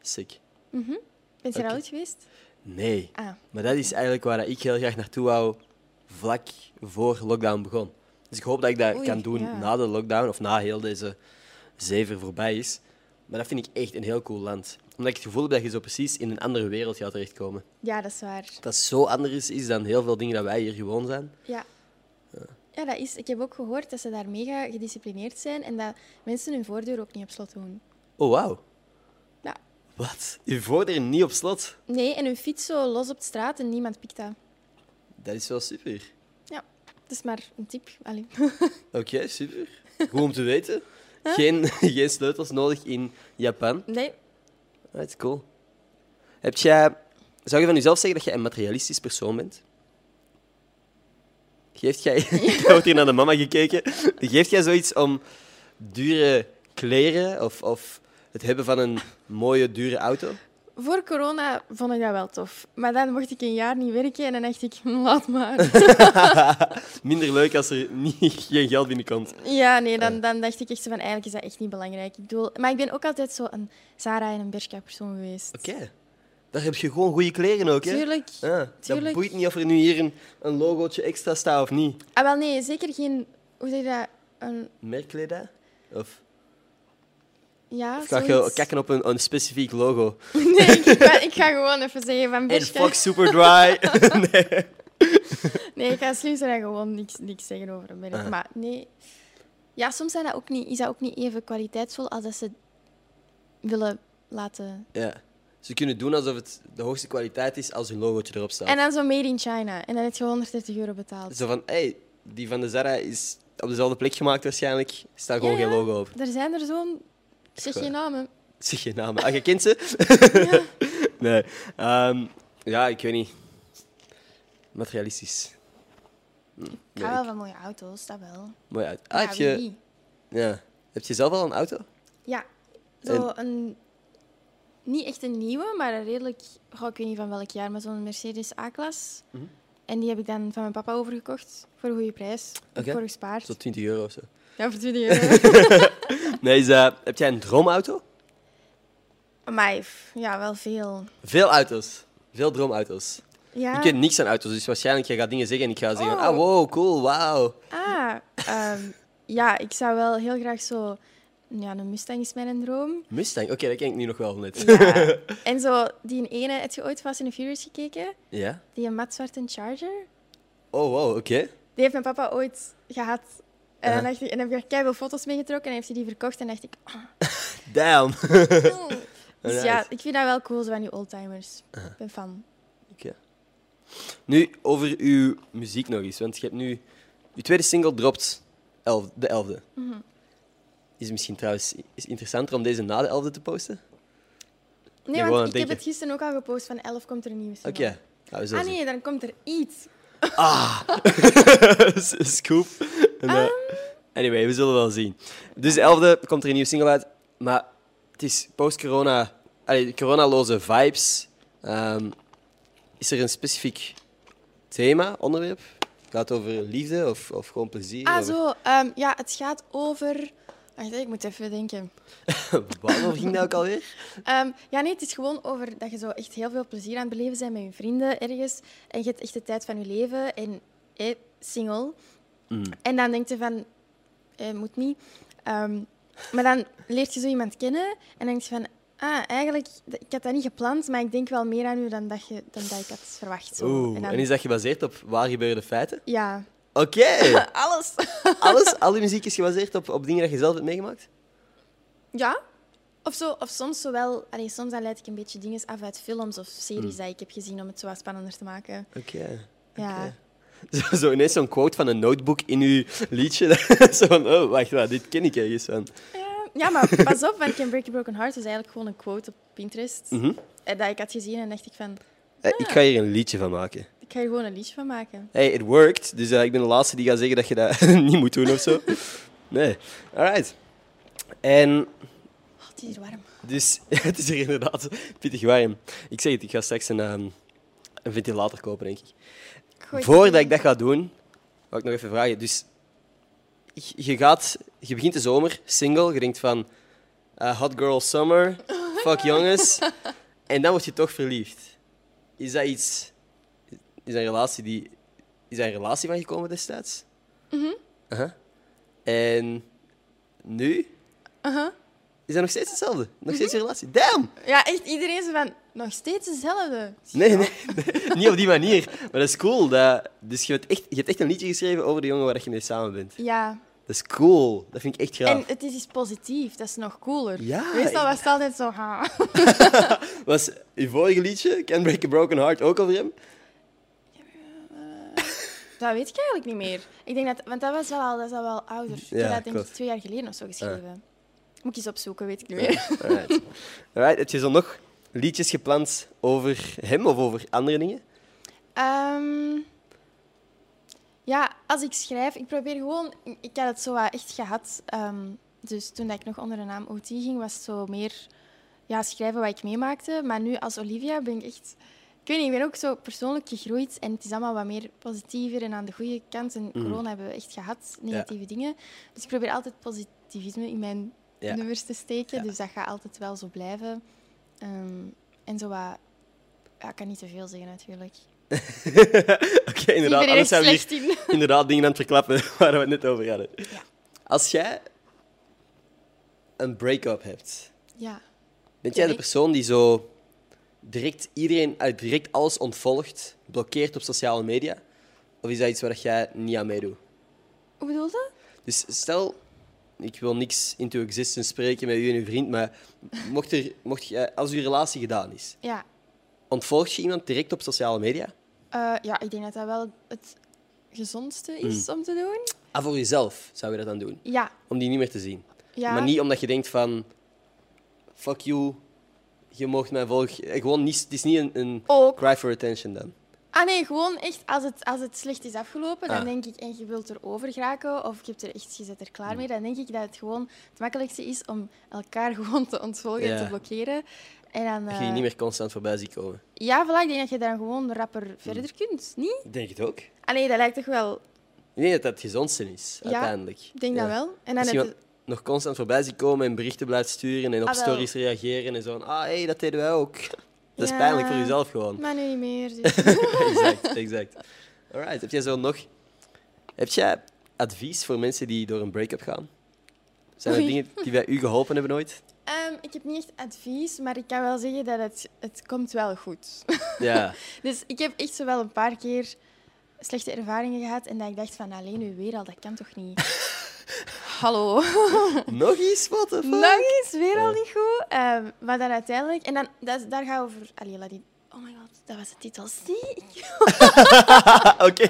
S2: sick.
S1: Ben je daar
S2: Oké.
S1: ooit geweest?
S2: Nee.
S1: Ah,
S2: Maar dat is eigenlijk waar ik heel graag naartoe wou vlak voor lockdown begon. Dus ik hoop dat ik dat
S1: Oei,
S2: kan doen
S1: ja.
S2: na de lockdown of na heel deze zever voorbij is. Maar dat vind ik echt een heel cool land. Omdat ik het gevoel heb dat je zo precies in een andere wereld gaat terechtkomen.
S1: ja, dat is waar.
S2: Dat zo anders is dan heel veel dingen dat wij hier gewoon zijn.
S1: Ja. Ja, dat is. Ik heb ook gehoord dat ze daar mega gedisciplineerd zijn en dat mensen hun voordeur ook niet op slot doen.
S2: Oh, wauw.
S1: Ja.
S2: Wat? Je voordeur niet op slot?
S1: Nee, en hun fiets zo los op de straat en niemand pikt dat.
S2: Dat is wel super.
S1: Ja, dat is maar een tip. Allee.
S2: Oké, super. Goed om te weten. Geen, geen sleutels nodig in Japan.
S1: Nee,
S2: Dat is cool. Heb jij, zou je van jezelf zeggen dat jij een materialistisch persoon bent? Geeft jij, ik word hier naar de mama gekeken, geeft jij zoiets om dure kleren of, of het hebben van een mooie, dure auto?
S1: voor corona vond ik dat wel tof. Maar dan mocht ik een jaar niet werken en dan dacht ik, "Hm, laat maar.
S2: Minder leuk als er niet, geen geld binnenkomt.
S1: Ja, nee, dan, dan dacht ik echt zo van, eigenlijk is dat echt niet belangrijk. Ik bedoel, maar ik ben ook altijd zo een Sarah en een Bershka persoon geweest.
S2: Oké, daar heb je gewoon goede kleren ook, hè?
S1: Tuurlijk.
S2: Ah, dat
S1: tuurlijk.
S2: boeit niet of er nu hier een, een logootje extra staat of niet.
S1: Ah, wel nee, zeker geen... Hoe zeg je dat? Een,
S2: Merk je dat? Of,
S1: ja,
S2: of ga je
S1: zoiets.
S2: kijken op een, een specifiek logo?
S1: Nee, ik ga, ik ga gewoon even zeggen van
S2: En
S1: Bershka.
S2: fuck Superdry. nee.
S1: Nee, ik ga slim zijn en gewoon niks, niks zeggen over een merk.
S2: Ah.
S1: Maar nee. Ja, soms zijn dat ook niet, is dat ook niet even kwaliteitsvol als dat ze willen laten.
S2: Ja. Ze kunnen doen alsof het de hoogste kwaliteit is als hun logootje erop staat.
S1: En dan zo made in China. En dan heb je 130 euro betaald.
S2: Zo van, hey, die van de Zara is op dezelfde plek gemaakt waarschijnlijk. Staat gewoon
S1: Ja, ja.
S2: geen logo op.
S1: Er zijn er zo'n... Ik zeg geen namen.
S2: Zeg je naam. Ah, je kent ze? nee. Ehm, ja, ik weet niet. Materialistisch.
S1: Ik
S2: Nee,
S1: hou wel
S2: ik-
S1: van mooie auto's, dat wel.
S2: Mooi uit. Ah,
S1: Ja,
S2: heb,
S1: wie
S2: je,
S1: niet?
S2: ja. heb je zelf al een auto?
S1: Ja, zo een... Niet echt een nieuwe, maar een redelijk... goh, ik weet niet van welk jaar, maar zo'n Mercedes A-klas.
S2: Mhm.
S1: En die heb ik dan van mijn papa overgekocht. Voor een goede prijs. Heb
S2: Oké.
S1: ik voor gespaard.
S2: Tot 20 euro of zo.
S1: Ja, voor 20 euro.
S2: Nee, is, eh, heb jij een droomauto?
S1: Amai, f- ja, wel veel.
S2: Veel auto's. Veel droomauto's.
S1: Ja.
S2: Ik ken niks aan auto's, dus waarschijnlijk jij gaat dingen zeggen en ik ga zeggen:
S1: Ah. Oh.
S2: ah, wow, cool, wauw.
S1: Ah, ehm, ja, ik zou wel heel graag zo... Ja, een Mustang is mijn droom.
S2: Mustang, oké, dat ken ik nu nog wel net.
S1: Ja. en zo, die ene... Heb je ooit Fast and the Furious gekeken?
S2: Ja?
S1: Die een matzwarte Charger?
S2: Oh, wow, oké.
S1: Die heeft mijn papa ooit gehad. En dan
S2: Ja.
S1: dacht ik, en dan heb ik er veel foto's mee getrokken en heeft hij die verkocht. En dacht ik, oh.
S2: Damn.
S1: Dus
S2: Alright.
S1: ja, ik vind dat wel cool, zo van die oldtimers. Ik ben fan.
S2: Oké. Nu over uw muziek nog eens, want je hebt nu. Je tweede single dropt elf, de 11e.
S1: Mhm.
S2: Is misschien trouwens is het interessanter om deze na de 11e te posten?
S1: Nee,
S2: Ja, gewoon aan
S1: want ik
S2: het
S1: heb
S2: denken.
S1: het gisteren ook al gepost, van 11 komt er een nieuwe
S2: Oké.
S1: single.
S2: Nou, we zullen
S1: Ah nee, dan komt er iets.
S2: zien. Scoop. En,
S1: Ehm.
S2: eh, anyway, we zullen wel zien. Dus de 11e komt er een nieuwe single uit, maar het is post-corona, allee, coronaloze vibes. Ehm, is er een specifiek thema, onderwerp? Gaat het over liefde of, of gewoon plezier?
S1: Ah,
S2: Of-
S1: zo. ehm, ja, het gaat over. Wacht, hè, ik moet even denken.
S2: Waarover ging dat ook alweer?
S1: Ehm, ja, nee, het is gewoon over dat je zo echt heel veel plezier aan het beleven bent met je vrienden ergens. En je hebt echt de tijd van je leven en eh, single.
S2: Mm.
S1: En dan denk je van, eh, moet niet. Ehm, maar dan leert je zo iemand kennen en denk je van, ah, eigenlijk, d- ik had dat niet gepland, maar ik denk wel meer aan u dan dat, je, dan dat ik had verwacht. Zo.
S2: Oeh,
S1: en
S2: en,
S1: dan-
S2: is dat gebaseerd op waar gebeurde feiten?
S1: Ja,
S2: Oké,
S1: alles.
S2: alles, al die muziek is gebaseerd op, op dingen dat je zelf hebt meegemaakt?
S1: ja. Of, zo, of soms zo wel, allee, soms dan leid ik een beetje dingen af uit films of series die ik heb gezien om het zo wat spannender te maken.
S2: Oké.
S1: Ja.
S2: Mm. Oké. Zo, zo ineens zo'n quote van een notebook in uw liedje. zo van, oh, wacht, wat, dit ken ik ergens van.
S1: Ja, Eh, Ja, maar pas op, want Can Break a Broken Heart was eigenlijk gewoon een quote op Pinterest.
S2: Mhm.
S1: eh, Dat ik had gezien en dacht ik van,
S2: Eh, Ik ga hier een liedje van maken.
S1: ik ga hier gewoon een liedje van maken.
S2: Hey, it worked. Dus eh, ik ben de laatste die gaat zeggen dat je dat niet moet doen of zo. Nee. Alright. En
S1: Oh, het is hier warm.
S2: dus, het is hier inderdaad pittig warm. Ik zeg het, ik ga straks een, ehm, een ventilator kopen, denk ik.
S1: Goeie
S2: Voordat
S1: idee.
S2: ik dat ga doen, wil ik nog even vragen. Dus je- je, gaat, je begint de zomer, single. Je denkt van eh, hot girl summer, fuck jongens. En dan word je toch verliefd. Is dat iets... Is dat een relatie die... Is daar een relatie van gekomen destijds? Mhm. En nu?
S1: Uh-huh.
S2: Is dat nog steeds hetzelfde? Nog steeds een relatie? Damn!
S1: Ja, echt iedereen is van, nog steeds dezelfde.
S2: Nee, nee, niet op die manier. Maar dat is cool. Dat, dus je hebt, echt, je hebt echt een liedje geschreven over de jongen waar je mee samen bent.
S1: Ja,
S2: Dat is cool. Dat vind ik echt
S1: en
S2: graag.
S1: het is iets positief, dat is nog cooler.
S2: Ja,
S1: Meestal
S2: ik-
S1: was het altijd zo, ha.
S2: Was uw vorige liedje, Can Break a Broken Heart, ook over hem?
S1: Dat weet ik eigenlijk niet meer. Ik denk dat, want dat was wel al, dat is al wel ouder. Ik
S2: Ja,
S1: heb dat denk ik
S2: klopt.
S1: twee jaar geleden of zo geschreven. Moet ik eens opzoeken, weet ik niet meer.
S2: Alright. Alright, heb je zo nog liedjes gepland over hem of over andere dingen?
S1: Ehm, ja, als ik schrijf, ik probeer gewoon. Ik had het zo wat echt gehad. ehm, dus toen dat ik nog onder de naam OT ging, was het zo meer ja, schrijven wat ik meemaakte. Maar nu als Olivia ben ik echt. Ik weet niet, ik ben ook zo persoonlijk gegroeid en het is allemaal wat meer positiever en aan de goede kant. En
S2: Mm.
S1: corona hebben we echt gehad, negatieve dingen. Dus ik probeer altijd positivisme in mijn
S2: Ja.
S1: nummers te steken. Dus dat gaat altijd wel zo blijven. Ehm, en zo wat... Ja, ik kan niet te veel zeggen natuurlijk.
S2: Oké, inderdaad.
S1: Ik ben er
S2: Anders
S1: echt
S2: zijn we hier
S1: slecht in.
S2: inderdaad dingen aan het verklappen waar we het net over hadden.
S1: Ja.
S2: Als jij een break-up hebt,
S1: Ja.
S2: bent jij de
S1: Nee.
S2: persoon die zo direct iedereen, eh, direct alles ontvolgt, blokkeert op sociale media? Of is dat iets waar jij niet aan meedoet?
S1: Hoe bedoel je dat?
S2: Dus stel, ik wil niks into existence spreken met u en uw vriend, maar mocht er, mocht je, als uw relatie gedaan is,
S1: Ja.
S2: ontvolg je iemand direct op sociale media?
S1: Eh, ja, ik denk dat dat wel het gezondste is om te doen.
S2: Ah, voor jezelf zou je dat dan doen,
S1: Ja.
S2: om die niet meer te zien.
S1: ja.
S2: Maar niet omdat je denkt van, fuck you, je mag mij volgen. Eh, Gewoon niet, het is niet een, een
S1: Ook.
S2: cry for attention dan.
S1: Ah nee, gewoon echt als het, als het slecht is afgelopen, dan
S2: Ah.
S1: denk ik, en je wilt erover geraken, of je hebt er echt, je zit er
S2: Hmm.
S1: klaar mee, dan denk ik dat het gewoon het makkelijkste is om elkaar gewoon te ontvolgen en
S2: Ja.
S1: te blokkeren. En dan,
S2: Dat je die
S1: eh,
S2: niet meer constant voorbij ziet komen.
S1: Ja, voilà, ik denk dat je dan gewoon
S2: Hmm.
S1: rapper verder kunt, niet?
S2: Ik denk het ook.
S1: Ah nee, dat lijkt toch wel...
S2: Ik denk dat dat het gezondste is,
S1: Ja,
S2: uiteindelijk.
S1: Ik denk dat
S2: Ja.
S1: wel. En dan
S2: Als
S1: heb je...
S2: iemand nog constant voorbij ziet komen en berichten blijft sturen en op
S1: Ah, wel.
S2: stories reageren en zo. Ah, hé, hey, dat deden wij ook. Dat is
S1: Ja.
S2: pijnlijk voor jezelf gewoon.
S1: Maar nu niet meer. dus-
S2: exact, exact. Alright, heb jij zo nog... Heb jij advies voor mensen die door een break-up gaan? Zijn er
S1: Oei.
S2: dingen die bij u geholpen hebben ooit?
S1: Ehm, ik heb niet echt advies, maar ik kan wel zeggen dat het, het komt wel goed.
S2: Ja.
S1: dus ik heb echt zo wel een paar keer slechte ervaringen gehad en dat ik dacht van alleen nu weer al, dat kan toch niet? Hallo.
S2: nog iets? What the fuck?
S1: Lang is weer al niet goed. Ehm, maar dan uiteindelijk, en dan, dat, is- daar gaat over... Allee, laat die... Oh my god, dat was de titel. Zie, ik,
S2: Ah, Oké.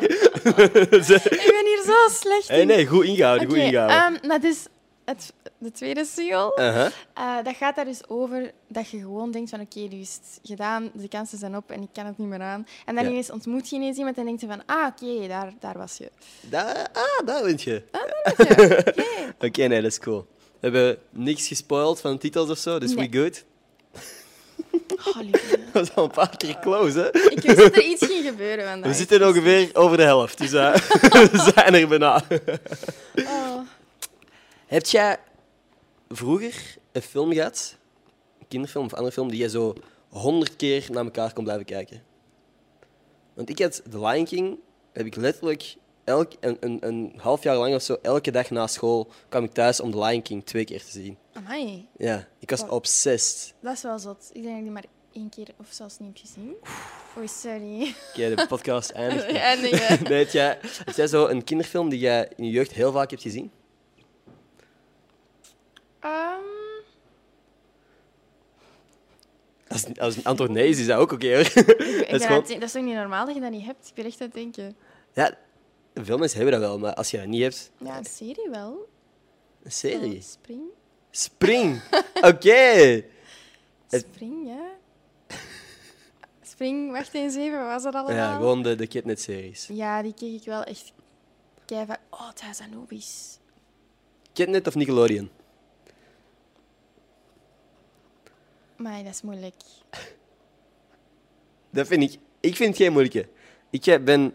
S1: ik ben hier zo slecht in.
S2: Hey, nee, goed ingehouden, goed
S1: Oké,
S2: ingehouden. Uh-huh.
S1: ehm, dat is het, de tweede single.
S2: Aha.
S1: Eh, dat gaat daar dus over dat je gewoon denkt van oké, nu is het gedaan, de kansen zijn op en ik kan het niet meer aan. En dan
S2: Ja.
S1: ineens ontmoet je ineens iemand en denkt je van ah oké, daar, daar was je.
S2: Da- ah, daar wint je.
S1: Yay.
S2: Oké, nee, dat is cool. We hebben niks gespoild van titels of zo, dus
S1: Nee.
S2: we good.
S1: Oh, lieve.
S2: Dat is al een paar keer close, hè?
S1: Ik wist dat er iets ging gebeuren vandaag.
S2: We zitten ongeveer over de helft, dus eh, we zijn er bijna.
S1: Oh.
S2: Heb jij vroeger een film gehad, een kinderfilm of andere film, die jij zo honderd keer naar elkaar kon blijven kijken? Want ik had The Lion King, heb ik letterlijk elk, een, een, een half jaar lang of zo, elke dag na school kwam ik thuis om The Lion King twee keer te zien.
S1: Amai,
S2: Ja, ik was
S1: Wow.
S2: obsessed.
S1: dat is wel zot. Ik denk dat ik die maar één keer of zelfs niet heb gezien. Oei, sorry.
S2: Oké, de podcast eindigt.
S1: Eindigen.
S2: Nee, heb jij, heb jij zo een kinderfilm die jij in je jeugd heel vaak hebt gezien?
S1: Ehm,
S2: Als, als een antwoord nee is, is dat ook oké hoor.
S1: ik- ik ben aan
S2: is
S1: het
S2: gewoon-
S1: denken- dat is toch niet normaal dat je dat niet hebt? Ik ben echt aan het denken.
S2: Ja, veel mensen hebben dat wel, maar als je dat niet hebt,
S1: Ja, een serie wel.
S2: een serie.
S1: Eh, Spring.
S2: Spring. Oké. Het-
S1: Spring, ja. Spring, wacht eens even, wat was dat allemaal?
S2: Ja, gewoon de, de Kidnet-series.
S1: Ja, die kreeg ik wel echt keihard. Oh, dat is Anubis.
S2: Kidnet of Nickelodeon?
S1: Maar dat is moeilijk.
S2: Dat vind ik... Ik vind het geen moeilijke. Ik eh, ben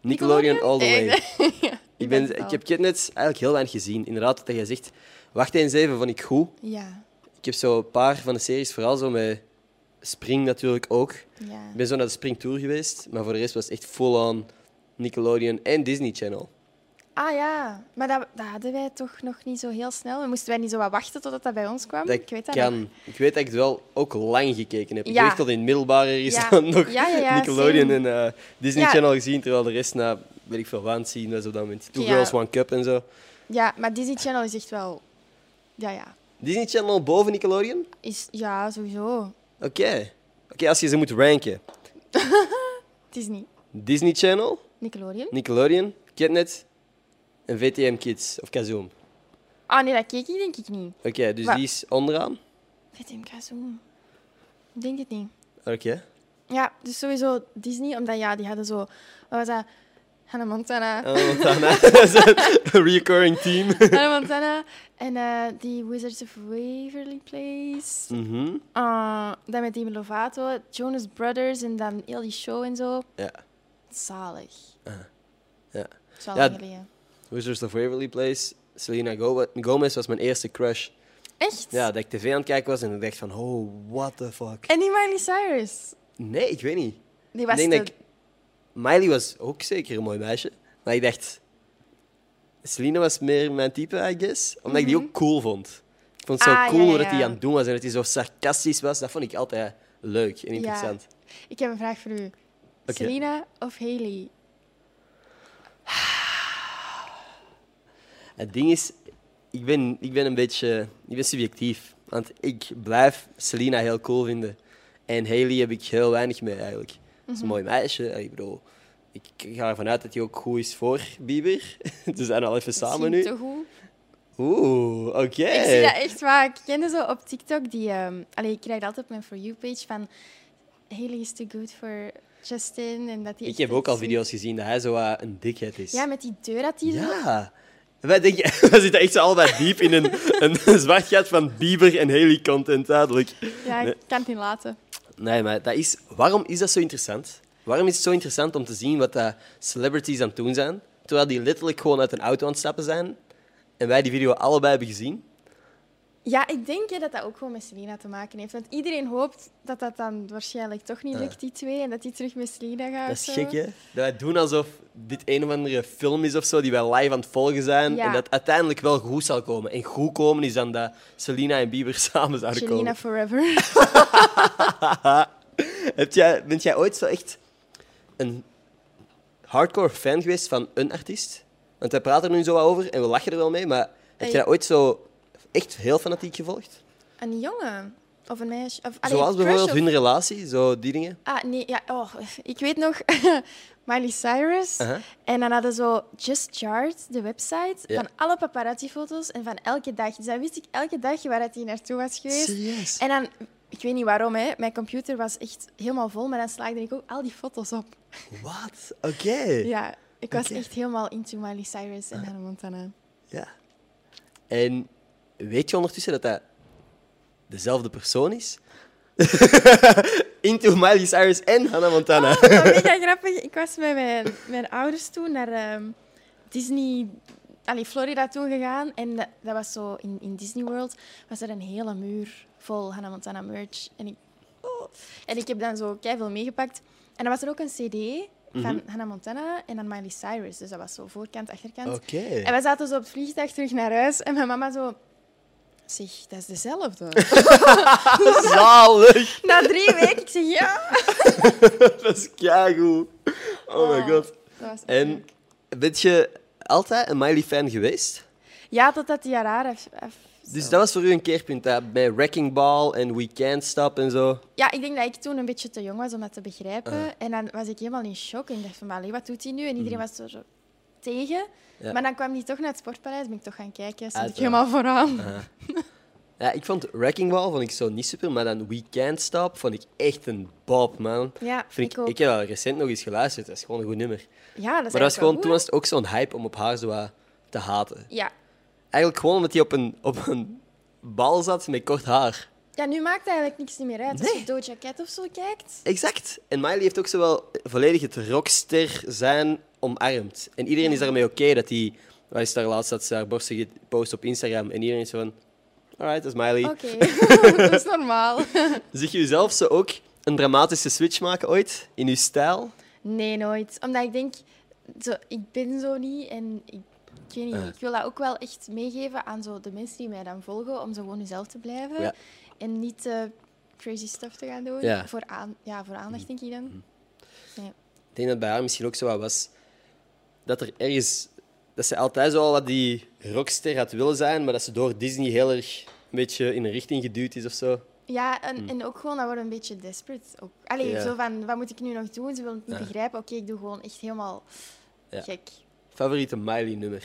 S2: Nickelodeon all the way.
S1: Nee, ja,
S2: Ik,
S1: het
S2: ben,
S1: wel.
S2: ik heb Kidnets eigenlijk heel weinig gezien. Inderdaad, dat jij zegt, wacht eens even, vond ik goed.
S1: Ja,
S2: Ik heb zo een paar van de series, vooral zo met Spring natuurlijk ook.
S1: ja.
S2: Ik ben zo naar de Spring Tour geweest, maar voor de rest was het echt full-on Nickelodeon en Disney Channel.
S1: Ah ja, maar dat, dat hadden wij toch nog niet zo heel snel. We moesten wij niet zo wat wachten totdat dat bij ons kwam?
S2: Dat
S1: ik weet dat
S2: kan.
S1: nog.
S2: Ik weet dat ik het wel ook lang gekeken heb. Ik
S1: Ja.
S2: heb echt tot in het middelbare is
S1: Ja.
S2: dan nog
S1: Ja, ja, ja,
S2: Nickelodeon
S1: same.
S2: en eh, Disney
S1: Ja.
S2: Channel gezien, terwijl de rest na, weet ik veel, waan zien was op dat moment. Two
S1: Ja.
S2: Girls, One Cup en zo.
S1: Ja, maar Disney Channel is echt wel... Ja, ja.
S2: Disney Channel boven Nickelodeon?
S1: Is, ja, sowieso.
S2: Oké. Oké, als je ze moet ranken.
S1: Disney.
S2: Disney Channel,
S1: Nickelodeon.
S2: Nickelodeon, Kidnet en VTM Kids of Kazoom.
S1: Ah nee, dat keek ik denk ik niet.
S2: Oké, dus
S1: Maar-
S2: die is onderaan.
S1: VTM Kazoom. Ik denk het niet.
S2: Oké.
S1: Ja, dus sowieso Disney, omdat ja, die hadden zo... Wat was dat? Hannah Montana.
S2: Hannah Montana. Dat Oh, is een recurring team.
S1: Hannah Montana. En eh, die Wizards of Waverly Place.
S2: Mhm.
S1: Ah, dan met Demi Lovato, Jonas Brothers en dan heel die show en zo.
S2: Ja.
S1: Zalig.
S2: ja.
S1: Dat is wel
S2: Ja,
S1: lang
S2: d-
S1: geleden.
S2: Wizards of dus Waverly Place. Selena Go- Gomez was mijn eerste crush.
S1: Echt?
S2: Ja, dat ik tv aan het kijken was en ik dacht van, oh, what the fuck.
S1: En die Miley Cyrus.
S2: Nee, ik weet niet.
S1: Die was
S2: ik denk
S1: de...
S2: dat ik... Miley was ook zeker een mooi meisje. Maar ik dacht, Selena was meer mijn type, I guess. Omdat ik die ook cool vond. Ik vond het zo
S1: Mhm. Ah, ja,
S2: cool
S1: ja,
S2: hoe dat hij
S1: ja.
S2: aan het doen was en dat hij zo sarcastisch was. Dat vond ik altijd leuk en interessant.
S1: Ik heb een vraag voor u.
S2: Oké.
S1: Selena of Haley?
S2: Het ding is, ik ben, ik ben een beetje ik ben subjectief. Want ik blijf Selena heel cool vinden. En Haley heb ik heel weinig mee eigenlijk. Ze is
S1: Mhm.
S2: een mooi meisje. en Ik bedoel, ik ga ervan uit dat hij ook goed is voor Bieber. Ze zijn al even samen
S1: Misschien
S2: nu.
S1: Te goed.
S2: Oeh, oké.
S1: Ik zie dat echt vaak. Ik kende zo op TikTok die... ehm allee, ik krijg altijd op mijn For You-page van... Haley is too good for Justin. En dat die
S2: Ik
S1: echt
S2: heb
S1: dat
S2: ook al
S1: zoet-
S2: video's gezien dat hij zo wat een dikheid is.
S1: Ja, met die deur dat die zo...
S2: Ja. Wij denken, we zitten echt zo allebei diep in een, een zwart gat van Bieber en Haley content, duidelijk.
S1: Ja, ik
S2: Nee.
S1: kan het niet laten.
S2: Nee, maar dat is, waarom is dat zo interessant? Waarom is het zo interessant om te zien wat dat celebrities aan het doen zijn, terwijl die letterlijk gewoon uit een auto aan het stappen zijn en wij die video allebei hebben gezien?
S1: Ja, ik denk hè, dat dat ook gewoon met Selena te maken heeft. Want iedereen hoopt dat dat dan waarschijnlijk toch niet lukt, die twee. En dat die terug met Selena gaat.
S2: Dat
S1: of zo.
S2: is gek, hè? Dat wij doen alsof dit een of andere film is of zo, die wij live aan het volgen zijn
S1: Ja.
S2: en dat uiteindelijk wel goed zal komen. En goed komen is dan dat Selena en Bieber samen zouden
S1: Selena
S2: komen.
S1: forever.
S2: Heb jij, bent jij ooit zo echt een hardcore fan geweest van een artiest? Want wij praten er nu zo wat over en we lachen er wel mee, maar heb
S1: Hey.
S2: jij dat ooit zo echt heel fanatiek gevolgd?
S1: een jongen. Of een meisje. Of,
S2: Zoals
S1: allee, crush
S2: bijvoorbeeld
S1: of-
S2: hun relatie, zo die dingen.
S1: Ah, nee. Ja, oh, ik weet nog Miley Cyrus.
S2: Aha.
S1: En dan hadden zo Just Chart, de website,
S2: Ja.
S1: van alle paparazzi-foto's en van elke dag. Dus dan wist ik elke dag waar dat hij naartoe was geweest.
S2: Serieus?
S1: En dan... Ik weet niet waarom, hè. Mijn computer was echt helemaal vol, maar dan slaagde ik ook al die foto's op.
S2: Wat? Oké. Ja.
S1: Ja, ik was
S2: Oké.
S1: echt helemaal into Miley Cyrus en Hannah Montana.
S2: En weet je ondertussen dat dat dezelfde persoon is? Into Miley Cyrus en Hannah Montana.
S1: Oh, dat was mega grappig. Ik was met mijn, mijn ouders toen naar ehm, Disney, allee, Florida toen gegaan. En dat, dat was zo in, in Disney World, was er een hele muur vol Hannah Montana merch. En ik, oh. en ik heb dan zo veel meegepakt. En dan was er ook een CD van Mhm. Hannah Montana en dan Miley Cyrus. Dus dat was zo voorkant, achterkant.
S2: Oké.
S1: En we zaten zo op het vliegtuig terug naar huis. En mijn mama zo... Zeg, dat is dezelfde.
S2: Zalig!
S1: Na drie weken, ik zeg ja.
S2: Dat is keigoed. Oh
S1: Ah.
S2: my god.
S1: Dat was echt
S2: En bent je altijd een Miley-fan geweest?
S1: Ja, totdat hij haar haar heeft. heeft-
S2: Dus
S1: zo.
S2: dat was voor u een keerpunt hè? bij Wrecking Ball en We Can't Stop en zo.
S1: Ja, ik denk dat ik toen een beetje te jong was om dat te begrijpen.
S2: Eh.
S1: En dan was ik helemaal in shock. En ik dacht van, "Maar, allee, wat doet hij nu? En iedereen was er zo tegen.
S2: Mm. Ja.
S1: Maar dan kwam hij toch naar het sportpaleis. Ben ik toch gaan kijken. Stond ik
S2: Uiteraard.
S1: helemaal vooraan.
S2: Ja, ik vond Wrecking Ball vond ik zo niet super, maar dan We Can't Stop vond ik echt een bop, man.
S1: Ja,
S2: Vind
S1: ik ook.
S2: ik heb dat recent nog eens geluisterd, dat is gewoon een goed nummer.
S1: Ja, dat is
S2: maar dat was
S1: eigenlijk
S2: gewoon,
S1: wel
S2: toen
S1: goed.
S2: was het ook zo'n hype om op haar zo wat te haten.
S1: Ja.
S2: Eigenlijk gewoon omdat hij op een, op een bal zat met kort haar.
S1: ja, nu maakt het eigenlijk niks meer uit. Als
S2: Nee.
S1: je Doja Cat of zo kijkt.
S2: Exact. En Miley heeft ook zowel volledig het rockster zijn omarmd. En iedereen is daarmee oké dat hij... Wij is daar laatst dat ze haar borsten gepost op Instagram. En iedereen is zo van... Alright, dat is Miley.
S1: Oké, dat is normaal.
S2: Zie je jezelf zo ook een dramatische switch maken ooit? In uw stijl?
S1: Nee, nooit. Omdat ik denk, zo, ik ben zo niet en ik, ik weet niet,
S2: Eh.
S1: ik wil dat ook wel echt meegeven aan zo de mensen die mij dan volgen, om zo gewoon jezelf te blijven
S2: Ja.
S1: en niet eh, crazy stuff te gaan doen.
S2: Ja. Mhm.
S1: Voor, aan, ja, voor aandacht, denk ik dan. Nee.
S2: Ik denk dat bij haar misschien ook zo wat was... Dat er ergens... Dat ze altijd zo al wat die rockster had willen zijn, maar dat ze door Disney heel erg een beetje in een richting geduwd is of zo.
S1: Ja, en, en ook gewoon, dat wordt een beetje desperate. Ook. Allee,
S2: Mhm. Ja.
S1: zo van, wat moet ik nu nog doen? Ze willen het niet
S2: Ja.
S1: begrijpen. Oké, ik doe gewoon echt helemaal
S2: Ja.
S1: gek.
S2: Favoriete Miley-nummer?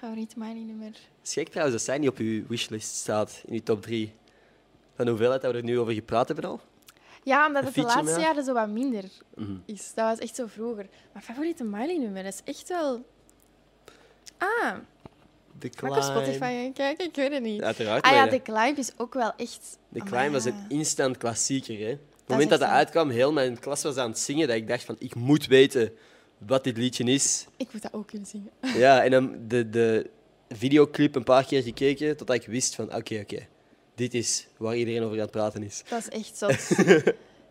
S1: Favoriet Miley nummer?
S2: Schrik trouwens dat zij niet op uw wishlist staat, in uw top 3. Van de hoeveelheid dat we er nu over gepraat hebben al.
S1: Ja, omdat
S2: Een
S1: het de
S2: feature
S1: laatste
S2: met
S1: jaren zo wat minder
S2: Mhm.
S1: is. Dat was echt zo vroeger. Mijn favoriete Miley-nummer is echt wel... Ah,
S2: De
S1: ga ik op Spotify gaan kijken? Ik weet het niet.
S2: Uiteraard.
S1: ah ja,
S2: maar ja,
S1: de Climb is ook wel echt...
S2: de
S1: Amai,
S2: Climb was
S1: ja.
S2: een instant klassieker. Hè. Op het
S1: is
S2: moment dat
S1: echt
S2: dat
S1: zo.
S2: uitkwam, heel mijn klas was aan het zingen. Dat ik dacht van, ik moet weten wat dit liedje is.
S1: Ik moet dat ook kunnen zingen.
S2: ja, en dan de, de videoclip een paar keer gekeken, totdat ik wist van, oké, oké. dit is waar iedereen over aan het praten is.
S1: Dat is echt zot.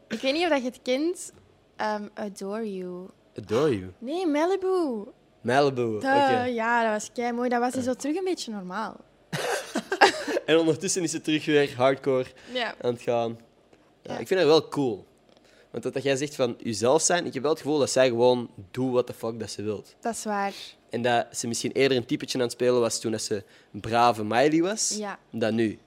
S1: ik weet niet of dat je het kent. Ehm, Adore You.
S2: Adore You.
S1: Nee, Malibu.
S2: Malibu.
S1: Duh,
S2: oké.
S1: Ja, dat was kei mooi. Dat was dus zo terug een beetje normaal.
S2: En ondertussen is het terug weer hardcore.
S1: Ja.
S2: aan het gaan. Ja,
S1: Ja.
S2: Ik vind dat wel cool. Want dat, dat jij zegt van jezelf zijn, ik heb wel het gevoel dat zij gewoon doet wat de fuck dat ze wilt.
S1: Dat is waar.
S2: En dat ze misschien eerder een typetje aan het spelen was toen dat ze een brave Miley was,
S1: Ja.
S2: dan nu.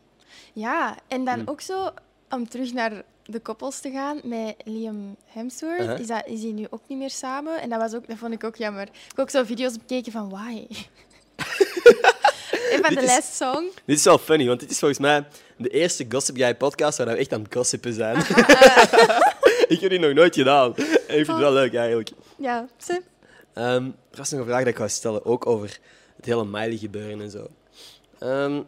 S1: Ja, en
S2: Hm.
S1: dan ook zo om terug naar de koppels te gaan met Liam Hemsworth.
S2: Aha.
S1: is, dat, is die nu ook niet meer samen? En dat, was ook, dat vond ik ook jammer. Ik heb ook zo video's bekeken van why. en van
S2: Dit
S1: de
S2: is-
S1: last song.
S2: Dit is wel funny, want dit is volgens mij de eerste Gossip Guy podcast waar we echt aan het gossipen zijn. ik heb dit nog nooit gedaan. En ik vind het wel leuk eigenlijk.
S1: Ja, ze.
S2: Ehm, er was nog een vraag dat ik wou stellen, ook over het hele Miley gebeuren en zo. Ehm,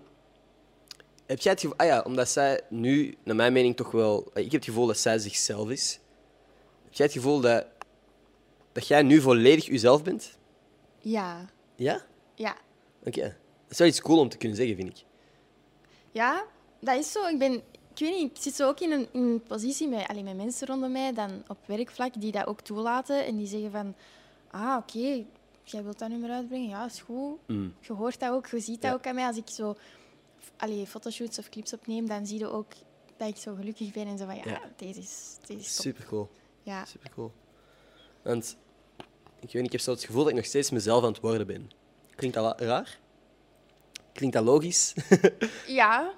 S2: heb jij het gevoel... Ah ja, omdat zij nu, naar mijn mening, toch wel... eh, Ik heb het gevoel dat zij zichzelf is. Heb jij het gevoel dat, dat jij nu volledig jezelf bent?
S1: Ja.
S2: Ja?
S1: Ja.
S2: Oké. Dat is wel iets cool om te kunnen zeggen, vind ik.
S1: Ja, dat is zo. Ik ben... Ik weet niet, ik zit zo ook in een, in een positie met, allee, met mensen rondom mij, dan op werkvlak, die dat ook toelaten. En die zeggen van, ah, oké, jij wilt dat nummer uitbrengen? Ja, is goed.
S2: Mm.
S1: Je hoort dat ook, je ziet dat
S2: Ja.
S1: ook aan mij. Als ik zo f- allee, fotoshoots of clips opneem, dan zie je ook dat ik zo gelukkig ben en zo van, ja,
S2: Ja.
S1: deze is, deze is top.
S2: Super cool.
S1: Ja.
S2: Super cool. Want, ik weet niet, ik heb zo het gevoel dat ik nog steeds mezelf aan het worden ben. Klinkt dat la- raar? Klinkt dat logisch?
S1: Ja.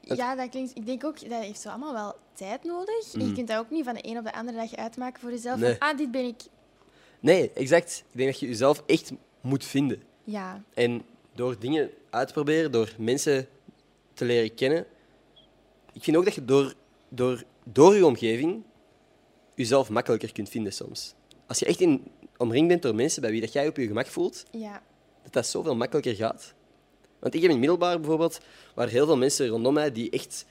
S1: Ja, dat klinkt... Ik denk ook, dat heeft zo allemaal wel tijd nodig. En Je kunt dat ook niet van de een op de andere dag uitmaken voor jezelf.
S2: Mm. Nee.
S1: Van, ah, dit ben ik.
S2: Nee, exact. Ik denk dat je jezelf echt moet vinden.
S1: Ja.
S2: En door dingen uit te proberen, door mensen te leren kennen. Ik vind ook dat je door, door, door je omgeving jezelf makkelijker kunt vinden soms. Als je echt in, omringd bent door mensen bij wie dat jij op je gemak voelt,
S1: Ja.
S2: dat dat zoveel makkelijker gaat. Want ik heb in het middelbaar bijvoorbeeld, waar heel veel mensen rondom mij die echt.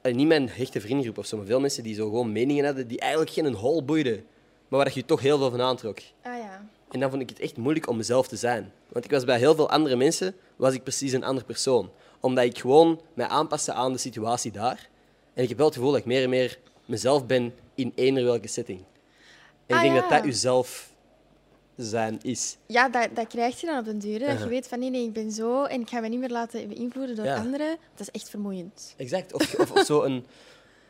S2: eh, niet mijn hechte vriendengroep of zo, maar veel mensen die zo gewoon meningen hadden die eigenlijk geen hol boeiden, maar waar je toch heel veel van aantrok.
S1: Ah ja.
S2: En dan vond ik het echt moeilijk om mezelf te zijn. Want ik was bij heel veel andere mensen, was ik precies een ander persoon. Omdat ik gewoon mij aanpaste aan de situatie daar. En ik heb wel het gevoel dat ik meer en meer mezelf ben in eender welke setting. En
S1: Ah,
S2: ik denk
S1: ja.
S2: dat dat jezelf zijn is.
S1: Ja, dat, dat krijg je dan op den duur. hè. Dat
S2: Ja.
S1: je weet van nee, nee, ik ben zo en ik ga me niet meer laten beïnvloeden door
S2: Ja.
S1: anderen. Dat is echt vermoeiend.
S2: Exact. Of, of, of zo een,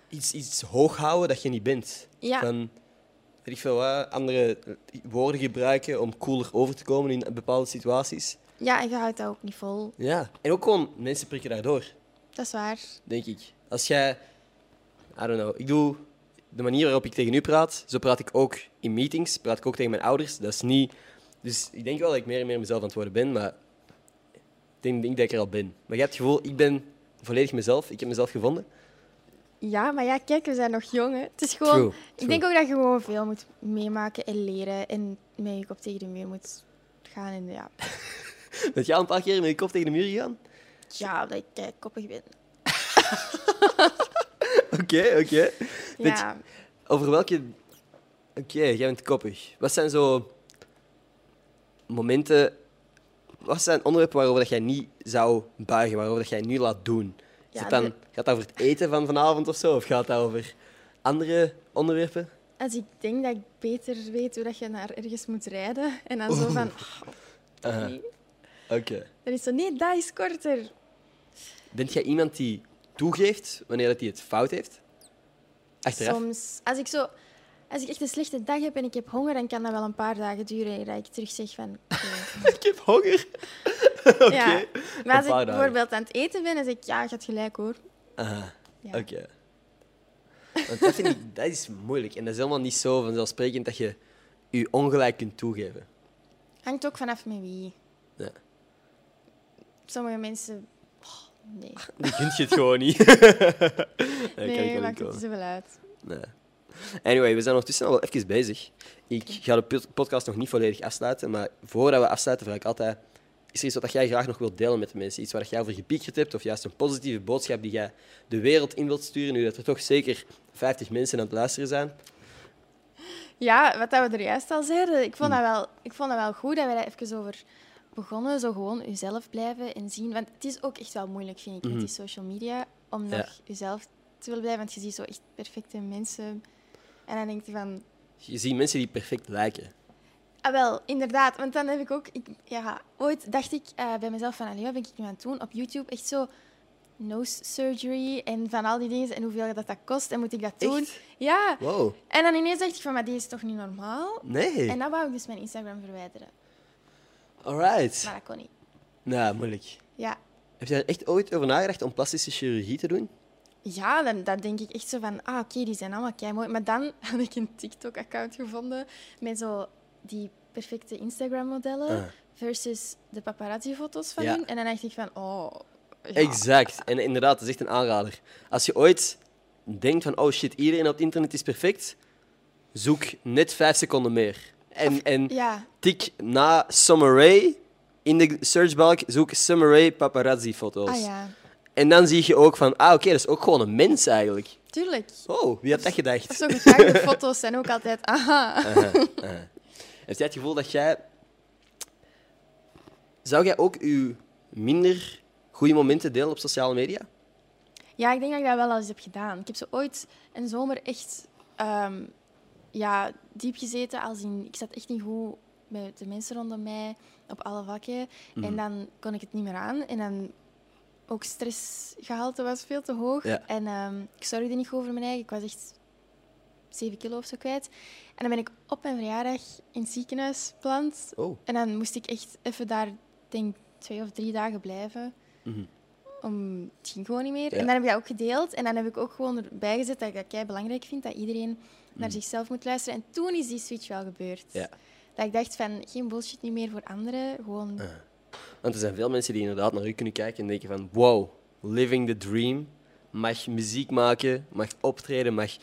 S2: iets, iets hoog houden dat je niet bent.
S1: Ja.
S2: Van, weet ik veel wat, andere woorden gebruiken om cooler over te komen in bepaalde situaties.
S1: Ja, en je houdt dat ook niet vol.
S2: Ja. En ook gewoon, mensen prikken daardoor.
S1: Dat is waar.
S2: denk ik. Als jij, I don't know, ik doe de manier waarop ik tegen u praat, zo praat ik ook in meetings, praat ik ook tegen mijn ouders. Dat is niet, dus ik denk wel dat ik meer en meer mezelf aan het worden ben, maar ik denk, denk dat ik er al ben. Maar je hebt het gevoel, ik ben volledig mezelf, ik heb mezelf gevonden.
S1: Ja, maar ja, kijk, we zijn nog jong. Hè. Het is gewoon.
S2: True,
S1: Ik denk ook dat je gewoon veel moet meemaken en leren. En met je kop tegen de muur moet gaan. En ja,
S2: Dat jij al een paar keer met je kop tegen de muur gegaan?
S1: ja dat ik eh, koppig ben.
S2: Oké, oké. Dit-
S1: Ja.
S2: Over welke... Oké, jij bent koppig. Wat zijn zo momenten... Wat zijn onderwerpen waarover dat jij niet zou buigen, waarover dat jij nu laat doen? Is
S1: Ja,
S2: het dan,
S1: de-
S2: Gaat dat over het eten van vanavond of zo? Of gaat dat over andere onderwerpen?
S1: Als ik denk dat ik beter weet hoe dat je naar ergens moet rijden. En dan
S2: Oh.
S1: zo van.
S2: Eh,
S1: oh, nee.
S2: Oké.
S1: Dan is zo, nee, dat is korter.
S2: Bent jij iemand die toegeeft wanneer dat hij het fout heeft? Achteraf?
S1: Soms, als ik, zo, als ik echt een slechte dag heb en ik heb honger, dan kan dat wel een paar dagen duren. Dat ik terug zeg van. oké.
S2: Ik heb honger. Oké.
S1: Ja. Maar
S2: Een
S1: als ik
S2: paar dagen.
S1: bijvoorbeeld aan het eten ben, dan zeg ik, ja, je gaat gelijk hoor.
S2: Aha.
S1: Ja.
S2: Oké. Want dat vind ik, dat is moeilijk. En dat is helemaal niet zo vanzelfsprekend dat je je ongelijk kunt toegeven.
S1: Hangt ook vanaf met wie.
S2: Ja.
S1: Sommige mensen. oh, nee,
S2: Die kunt je het gewoon niet. nee, dat kan ik
S1: nee
S2: wel
S1: maakt het
S2: inkomen.
S1: niet zoveel uit.
S2: Nee. Anyway, we zijn ondertussen al wel even bezig. Ik ga de pod- podcast nog niet volledig afsluiten, maar voordat we afsluiten vraag ik altijd... Is er iets wat jij graag nog wilt delen met de mensen? Iets waar jij over gepiekerd hebt of juist een positieve boodschap die jij de wereld in wilt sturen, nu dat er toch zeker 50 mensen aan het luisteren zijn?
S1: Ja, wat dat we er juist al zeiden, ik vond, dat
S2: Hmm.
S1: wel, ik vond dat wel goed dat we daar even over begonnen. Zo gewoon uzelf blijven en zien. Want het is ook echt wel moeilijk, vind ik, met die social media, om
S2: Mhm. Ja.
S1: nog uzelf te willen blijven. Want je ziet zo echt perfecte mensen. En dan denk je van,
S2: Je ziet mensen die perfect lijken.
S1: Ah, wel, inderdaad. Want dan heb ik ook... Ik, ja, ooit dacht ik eh, bij mezelf van, allee, wat ben ik nu aan het doen? Op YouTube echt zo nose surgery en van al die dingen. En hoeveel dat dat kost en moet ik dat doen?
S2: Echt?
S1: Ja.
S2: Wow.
S1: En dan ineens dacht ik van, maar die is toch niet normaal?
S2: Nee.
S1: En dan wou ik dus mijn Instagram verwijderen.
S2: Alright.
S1: Maar dat kon niet.
S2: Nou, moeilijk.
S1: Ja.
S2: Heb je er echt ooit over nagedacht om plastische chirurgie te doen?
S1: Ja, dan, dan denk ik echt zo van, ah, oké, die zijn allemaal keimooi. Maar dan had ik een TikTok-account gevonden met zo die perfecte Instagram-modellen
S2: Ah.
S1: versus de paparazzi-foto's van
S2: Ja.
S1: hun. En dan dacht ik van, oh... ja.
S2: Exact. En inderdaad, dat is echt een aanrader. Als je ooit denkt van, oh shit, iedereen op het internet is perfect, zoek net vijf seconden meer. En, en
S1: Ja, Ah,
S2: tik na Summer Rae in de searchbalk, zoek Summer Rae paparazzi-foto's.
S1: ah ja,
S2: En dan zie je ook van, ah oké, dat is ook gewoon een mens eigenlijk.
S1: tuurlijk.
S2: Oh, wie had dat
S1: Of
S2: gedacht?
S1: zo gekraakte foto's zijn ook altijd, aha.
S2: Heb jij het gevoel dat jij... Zou jij ook je minder goede momenten delen op sociale media?
S1: Ja, ik denk dat ik dat wel al eens heb gedaan. Ik heb zo ooit een zomer echt ehm, ja, diep gezeten. Als in, ik zat echt niet goed met de mensen rondom mij op alle vakken. En dan kon ik het niet meer aan. En dan ook stressgehalte was veel te hoog.
S2: Ja.
S1: En ehm, ik zorgde niet goed over mijn eigen. Ik was echt 7 kilo of zo kwijt. En dan ben ik op mijn verjaardag in het ziekenhuis beland.
S2: Oh.
S1: En dan moest ik echt even daar, denk twee of drie dagen blijven. Om, het ging gewoon niet meer.
S2: Mhm. Ja.
S1: En dan heb ik dat ook gedeeld. En dan heb ik ook gewoon erbij gezet dat ik dat kei belangrijk vind. Dat iedereen naar zichzelf moet luisteren. En toen is die switch wel gebeurd.
S2: Mhm. Ja.
S1: Dat ik dacht van, geen bullshit niet meer voor anderen. Gewoon,
S2: Want er zijn veel mensen die inderdaad naar u kunnen kijken en denken van wow, living the dream. Mag muziek maken, mag optreden, mag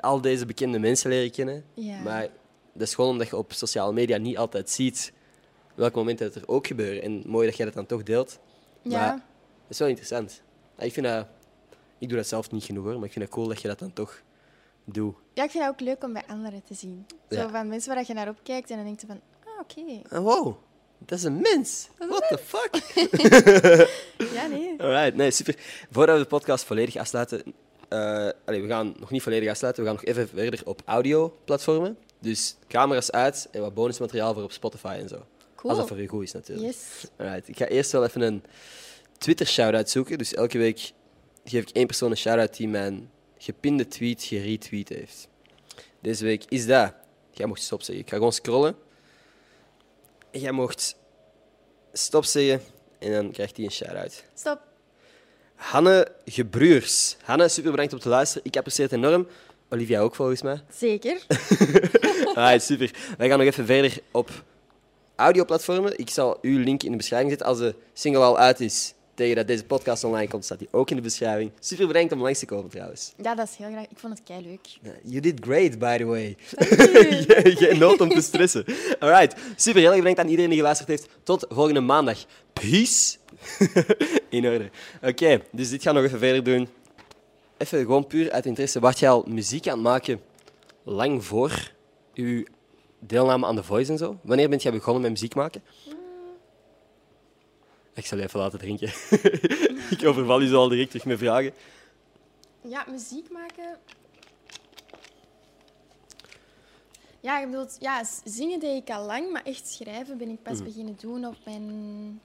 S2: al deze bekende mensen leren kennen.
S1: Ja.
S2: Maar dat is gewoon omdat je op sociale media niet altijd ziet welke momenten dat er ook gebeuren. En mooi dat jij dat dan toch deelt.
S1: Ja.
S2: Maar- Dat is wel interessant. Ja, ik vind dat... Ik doe dat zelf niet genoeg hoor, maar ik vind het cool dat je dat dan toch doet.
S1: ja, ik vind het ook leuk om bij anderen te zien. Zo
S2: Ja.
S1: van mensen waar je naar opkijkt en dan denkt je van, ah, oké.
S2: Ah, wow, dat is een mens. What the fuck?
S1: Ja, nee.
S2: Alright, nee, super. Voordat we de podcast volledig afsluiten... eh, allee, we gaan nog niet volledig afsluiten, we gaan nog even verder op audio-platformen. Dus camera's uit en wat bonusmateriaal voor op Spotify en zo.
S1: Cool.
S2: Als dat voor u goed is natuurlijk.
S1: Yes.
S2: Alright, ik ga eerst wel even een Twitter-shout-out zoeken. Dus elke week geef ik één persoon een shout-out die mijn gepinde tweet geretweet heeft. Deze week is dat. Jij mocht stop zeggen. Ik ga gewoon scrollen. En Jij mocht stop zeggen en dan krijgt hij een shout-out.
S1: Stop.
S2: Hanne Gebruurs. Hanne, super bedankt om te luisteren. Ik apprecieer het enorm. Olivia ook volgens mij.
S1: Zeker.
S2: Ah, super. Wij gaan nog even verder op audioplatformen. Ik zal uw link in de beschrijving zetten. Als de single al uit is, tegen dat deze podcast online komt, staat die ook in de beschrijving. Super bedankt om langs te komen trouwens.
S1: Ja, dat is heel graag. Ik vond het kei leuk.
S2: Ja, You did great, by the way. Geen- Geen nood om te stressen. Alright, super. Heel erg bedankt aan iedereen die geluisterd heeft. Tot volgende maandag. Peace. in orde. Oké, dus dit gaan we nog even verder doen. Even gewoon puur uit interesse. Wat jij al muziek aan het maken lang voor uw deelname aan The Voice en zo? Wanneer bent jij begonnen met muziek maken? Ik zal je even laten drinken. ik overval je zo al direct terug met vragen.
S1: Ja, muziek maken. Ja, ik bedoel, ja, z- zingen deed ik al lang, maar echt schrijven ben ik pas
S2: Mhm.
S1: beginnen doen op mijn.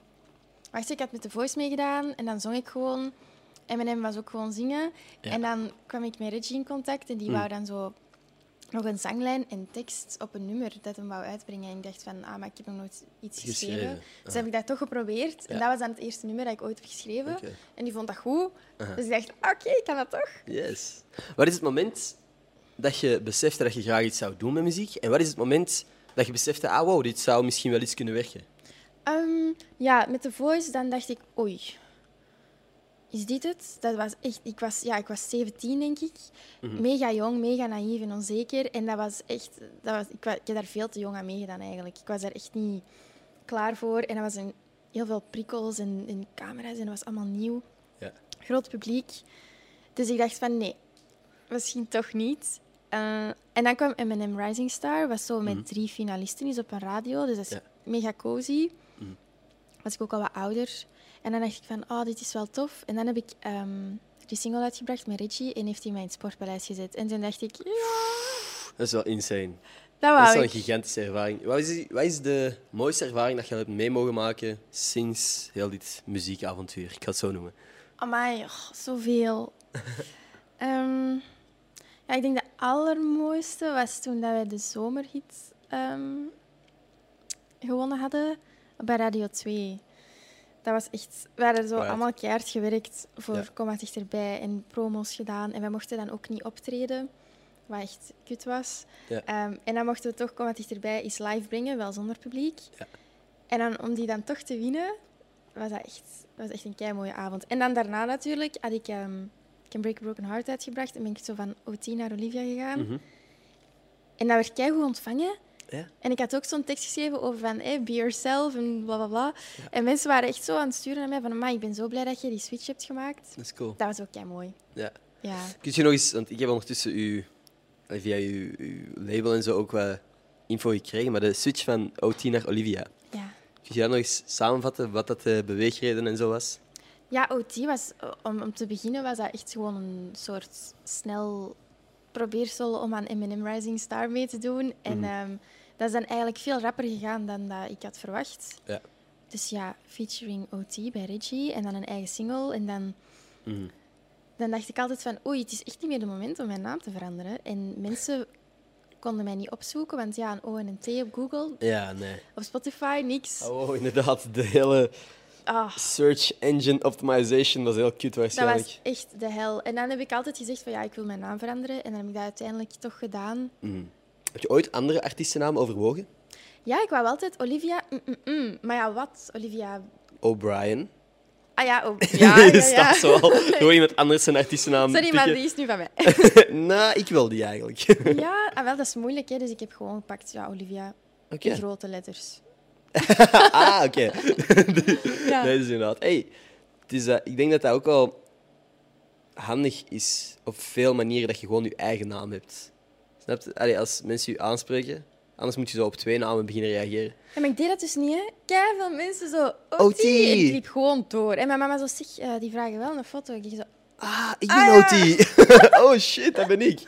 S1: Wacht, ik had met de voice meegedaan en dan zong ik gewoon. En mijn was ook gewoon zingen.
S2: Ja. Mhm.
S1: En dan kwam ik met Reggie in contact en die wou dan zo nog een zanglijn en tekst op een nummer dat hem wou uitbrengen. En ik dacht van, ah, maar ik heb nog nooit iets geschreven.
S2: Geschreven,
S1: Dus heb ik dat toch geprobeerd. En
S2: Ja.
S1: dat was dan het eerste nummer dat ik ooit heb geschreven.
S2: Oké.
S1: En die vond dat goed. Dus ik dacht, oké, ik kan dat toch.
S2: Yes. Wat is het moment dat je besefte dat je graag iets zou doen met muziek? En wat is het moment dat je besefte, ah wow, dit zou misschien wel iets kunnen werken?
S1: Ehm, ja, met de voice dan dacht ik, oei. Is dit het? Dat was echt, ik, was, ja, ik was 17, denk ik.
S2: Mhm.
S1: Mega jong, mega naïef en onzeker. En dat was echt, dat was, ik, wa- ik heb daar veel te jong aan meegedaan eigenlijk. Ik was daar echt niet klaar voor. En dat was een, heel veel prikkels en, en camera's en dat was allemaal nieuw.
S2: Ja.
S1: Groot publiek. Dus ik dacht van nee, misschien toch niet. Eh, en dan kwam M&M Rising Star, was zo met drie finalisten is op een radio. Dus dat is
S2: Mhm. Ja. Mhm.
S1: mega cozy. Was ik ook al wat ouder. En dan dacht ik van, oh, dit is wel tof. En dan heb ik ehm, die single uitgebracht met Reggie en heeft hij mij in het sportpaleis gezet. En toen dacht ik, ja,
S2: Dat is wel insane.
S1: dat
S2: Dat is
S1: wou
S2: wel een
S1: ik.
S2: gigantische ervaring. Wat is, wat is de mooiste ervaring dat je hebt mee mogen maken sinds heel dit muziekavontuur? Ik ga het zo noemen.
S1: Amai, oh, zoveel. Ehm, ja, ik denk de allermooiste was toen dat wij de zomerhit ehm, gewonnen hadden bij Radio 2. Dat was echt... We hadden zo
S2: Alright.
S1: allemaal keihard gewerkt voor
S2: Ja.
S1: Kom maar dichterbij en promos gedaan. En wij mochten dan ook niet optreden, wat echt kut was.
S2: Ja.
S1: Ehm, en dan mochten we toch Kom maar dichterbij eens live brengen, wel zonder publiek. En dan, om die dan toch te winnen, was dat echt, was echt een kei mooie avond. En dan daarna natuurlijk had ik ehm Can Break a Broken Heart uitgebracht en ben ik zo van OT naar Olivia gegaan. En dat werd kei goed ontvangen.
S2: Ja?
S1: En ik had ook zo'n tekst geschreven over van hey, be yourself en bla bla bla. En mensen waren echt zo aan het sturen naar mij van maar ik ben zo blij dat je die switch hebt gemaakt.
S2: Dat is cool.
S1: Dat was ook kei mooi.
S2: Ja.
S1: Ja.
S2: Kun je nog eens, want ik heb ondertussen uw, eh, via uw, uw label en zo ook wat info gekregen, maar de switch van OT naar Olivia.
S1: ja.
S2: Kun je dat nog eens samenvatten, wat dat de beweegreden en zo was?
S1: Ja, OT was, eh, om, om te beginnen, was dat echt gewoon een soort snel probeersel om aan M&M Rising Star mee te doen. En ehm, dat is dan eigenlijk veel rapper gegaan dan dat ik had verwacht.
S2: Ja.
S1: Dus ja, featuring OT bij Reggie en dan een eigen single. En dan, dan dacht ik altijd van, oei, het is echt niet meer de moment om mijn naam te veranderen. En mensen konden mij niet opzoeken, want ja, een O en een T op Google,
S2: Ja, nee.
S1: op Spotify, niks.
S2: Oh, wow, inderdaad. De hele
S1: Ah.
S2: search engine optimization was heel cute
S1: Dat
S2: waarschijnlijk.
S1: was echt de hel. En dan heb ik altijd gezegd van ja, ik wil mijn naam veranderen. En dan heb ik dat uiteindelijk toch gedaan.
S2: Heb je ooit andere artiestennamen overwogen?
S1: Ja, ik wou altijd Olivia. mm, mm, mm. Maar ja, wat? Olivia.
S2: O'Brien.
S1: Ah ja, oh, ja, ja,
S2: Je
S1: ja.
S2: staat zo al. Gewoon iemand anders zijn artiestennaam
S1: Sorry, maar die
S2: pikken.
S1: is nu van mij.
S2: nou, ik wil die eigenlijk. Oké.
S1: ja, ah, wel, dat is moeilijk. Hè? Dus ik heb gewoon gepakt ja, Olivia. In grote letters.
S2: ah, oké.
S1: Ja.
S2: Dat is inderdaad. Hey, het is, eh, ik denk dat dat ook al handig is op veel manieren dat je gewoon je eigen naam hebt. Snap je? Allee, als mensen je aanspreken, anders moet je zo op twee namen beginnen reageren.
S1: Ja, maar ik deed dat dus niet, hè. Kei veel mensen zo, OT.
S2: OT.
S1: En ik liep gewoon door. En mijn mama zo, zeg, eh, die vragen wel een foto. Ik zo,
S2: Ah, ik ben
S1: Ah, ja.
S2: OT. oh shit, dat ben ik.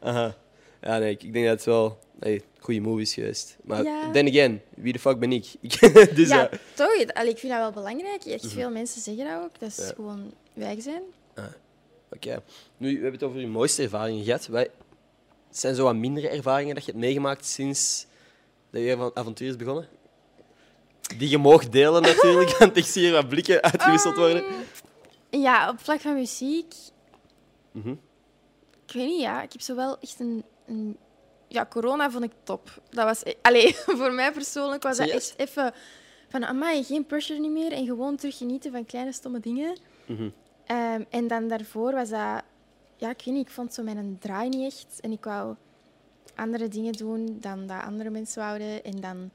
S2: Aha. Ja, nee, ik ik denk dat het wel hey, goede movie is geweest. Maar
S1: Ja.
S2: then again, wie de fuck ben ik? dus
S1: ja,
S2: ja.
S1: toch? Het- Allee, ik vind dat wel belangrijk. Echt veel mensen zeggen dat ook. Dat is
S2: Ja.
S1: gewoon wij zijn.
S2: Oké. Nu, we hebben het over je mooiste ervaringen gehad. Wat zijn zo wat mindere ervaringen dat je hebt meegemaakt sinds dat je van avontuur is begonnen? Die je mag delen natuurlijk, want ik zie hier wat blikken
S1: Ah.
S2: uitgewisseld worden.
S1: Ja, op vlak van muziek.
S2: Mhm.
S1: Ik weet niet, ja. Ik heb zo wel echt een, een... Ja, corona vond ik top. Dat was... e- Allee, voor mij persoonlijk was dat
S2: Serieus?
S1: echt even... Van, amai, geen pressure niet meer. En gewoon terug genieten van kleine stomme dingen.
S2: Mhm.
S1: Ehm, en dan daarvoor was dat... Ja, ik weet niet, ik vond zo mijn draai niet echt. En ik wou andere dingen doen dan dat andere mensen wouden. En dan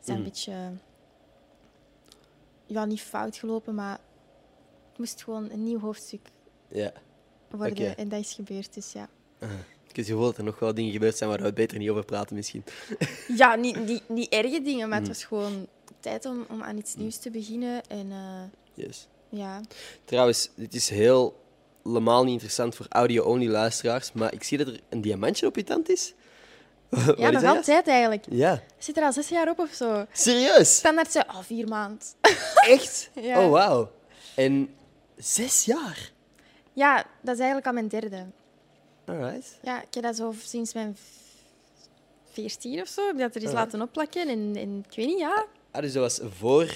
S1: is dat een
S2: Mhm.
S1: beetje... Ja, niet fout gelopen, maar... Het moest gewoon een nieuw hoofdstuk
S2: Ja.
S1: worden.
S2: Oké.
S1: En dat is gebeurd, dus ja.
S2: Ik heb het gevoel dat er nog wel dingen gebeurd zijn waar we het beter niet over praten misschien.
S1: Ja, niet, niet, niet erge dingen, maar het
S2: Mm.
S1: was gewoon tijd om, om aan iets nieuws te beginnen. En eh,
S2: Yes.
S1: ja,
S2: Trouwens, dit is heel helemaal niet interessant voor audio-only luisteraars, maar ik zie dat er een diamantje op je tand is. Wat
S1: ja
S2: is
S1: nog
S2: dat?
S1: altijd eigenlijk.
S2: Ja.
S1: Het Zit er al zes jaar op of zo.
S2: Serieus?
S1: Standaard zei, oh, vier maanden.
S2: Echt?
S1: Ja.
S2: Oh, wauw. En zes jaar.
S1: Ja, dat is eigenlijk al mijn derde.
S2: Alright.
S1: Ja, ik heb dat zo sinds mijn v- veertien of zo. Ik heb dat er eens laten opplakken en, en ik weet niet, ja.
S2: Ah, dus dat was voor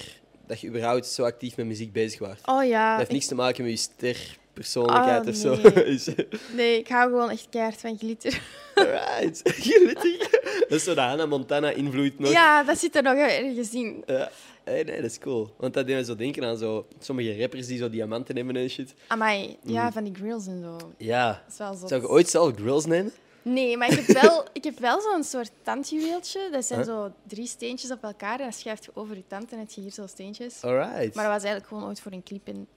S2: dat je überhaupt zo actief met muziek bezig was.
S1: Oh
S2: dat
S1: ja,
S2: heeft
S1: ik,
S2: niks te maken met je sterpersoonlijkheid
S1: Oh,
S2: of zo.
S1: nee.
S2: Is-
S1: nee, ik hou gewoon echt keihard van glitter.
S2: Alright. Gelukkig. Dat is zo de Hannah Montana invloed nog.
S1: Ja, dat zit er nog ergens in.
S2: Ja. Hey, nee, dat is cool. Want dat deed me zo denken aan zo, sommige rappers die zo diamanten nemen en shit.
S1: Amai,
S2: Mm.
S1: ja, van die grills en zo. Dat
S2: Ja.
S1: is wel zot.
S2: Zou je ooit zelf grills nemen?
S1: Nee, maar ik heb wel, ik heb wel zo'n soort tandjuweeltje. Dat zijn zo drie steentjes op elkaar. En dan schuift je over je tand en heb je hier zo steentjes.
S2: Alright.
S1: Maar dat was eigenlijk gewoon ooit voor een clip. En,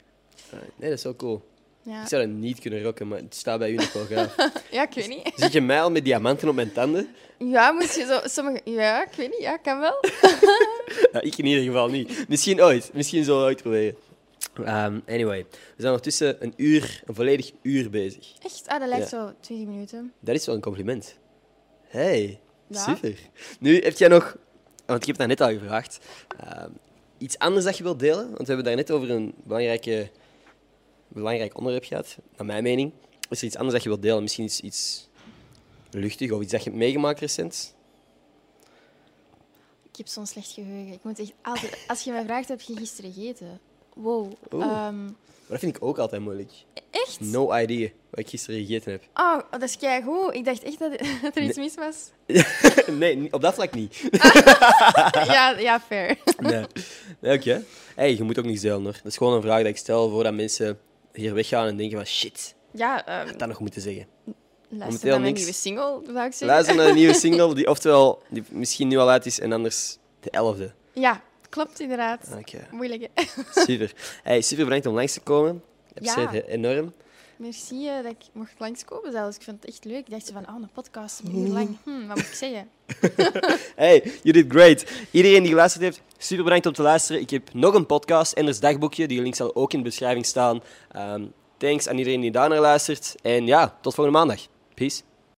S2: Alright. Nee, dat is wel cool.
S1: ja.
S2: Ik zou dat niet kunnen rocken, maar het staat bij u nog wel graag.
S1: ja, ik weet niet.
S2: Zit je mij al met diamanten op mijn tanden?
S1: Ja, moest je zo... Sommige, ja, ik weet niet. Ja, kan wel.
S2: Ja, ik in ieder geval niet. Misschien ooit. Misschien zullen we het uitproberen. Ehm, anyway, we zijn ondertussen een uur, een volledig uur bezig.
S1: Echt? Ah, dat lijkt
S2: Ja.
S1: zo 20 minuten.
S2: Dat is wel een compliment. Hey,
S1: Ja.
S2: super. Nu heb jij nog, want ik heb dat net al gevraagd, ehm, iets anders dat je wilt delen? Want we hebben daar net over een belangrijke, belangrijk onderwerp gehad, naar mijn mening. Is er iets anders dat je wilt delen? Misschien iets, iets luchtig of iets dat je hebt meegemaakt recent?
S1: Ik heb zo'n slecht geheugen. Ik moet echt altijd... Als je mij vraagt, heb je gisteren gegeten? Wow.
S2: Oeh.
S1: Ehm,
S2: Maar dat vind ik ook altijd moeilijk.
S1: echt?
S2: No idea wat ik gisteren gegeten heb.
S1: Oh, dat is keigoed. Ik dacht echt dat, dat er iets mis was.
S2: nee, niet- op dat vlak niet.
S1: Ja, ja fair.
S2: Nee. Nee, oké. Hey, je moet ook niet zeilen hoor. Dat is gewoon een vraag die ik stel voordat mensen hier weggaan en denken van shit,
S1: Ja, ehm,
S2: ik had dat nog moeten zeggen.
S1: luister
S2: momenteel
S1: naar mijn
S2: niks.
S1: nieuwe single, zou ik zeggen.
S2: Luister naar de nieuwe single, die oftewel die misschien nu al uit is en anders de elfde.
S1: Ja, klopt inderdaad.
S2: Oké,
S1: Moeilijk, hè?
S2: super. Hey, super bedankt om langs te komen. Ik
S1: Ja.
S2: heb het enorm.
S1: Merci eh, dat ik mocht langskomen zelfs. Ik vond het echt leuk. Ik dacht zo van, oh, een podcast, een uur lang. Hm, wat moet ik zeggen?
S2: Hey, you did great. Iedereen die geluisterd heeft, super bedankt om te luisteren. Ik heb nog een podcast, Enders Dagboekje. Die link zal ook in de beschrijving staan. Ehm, thanks aan iedereen die daar naar luistert. En ja, tot volgende maandag. Peace.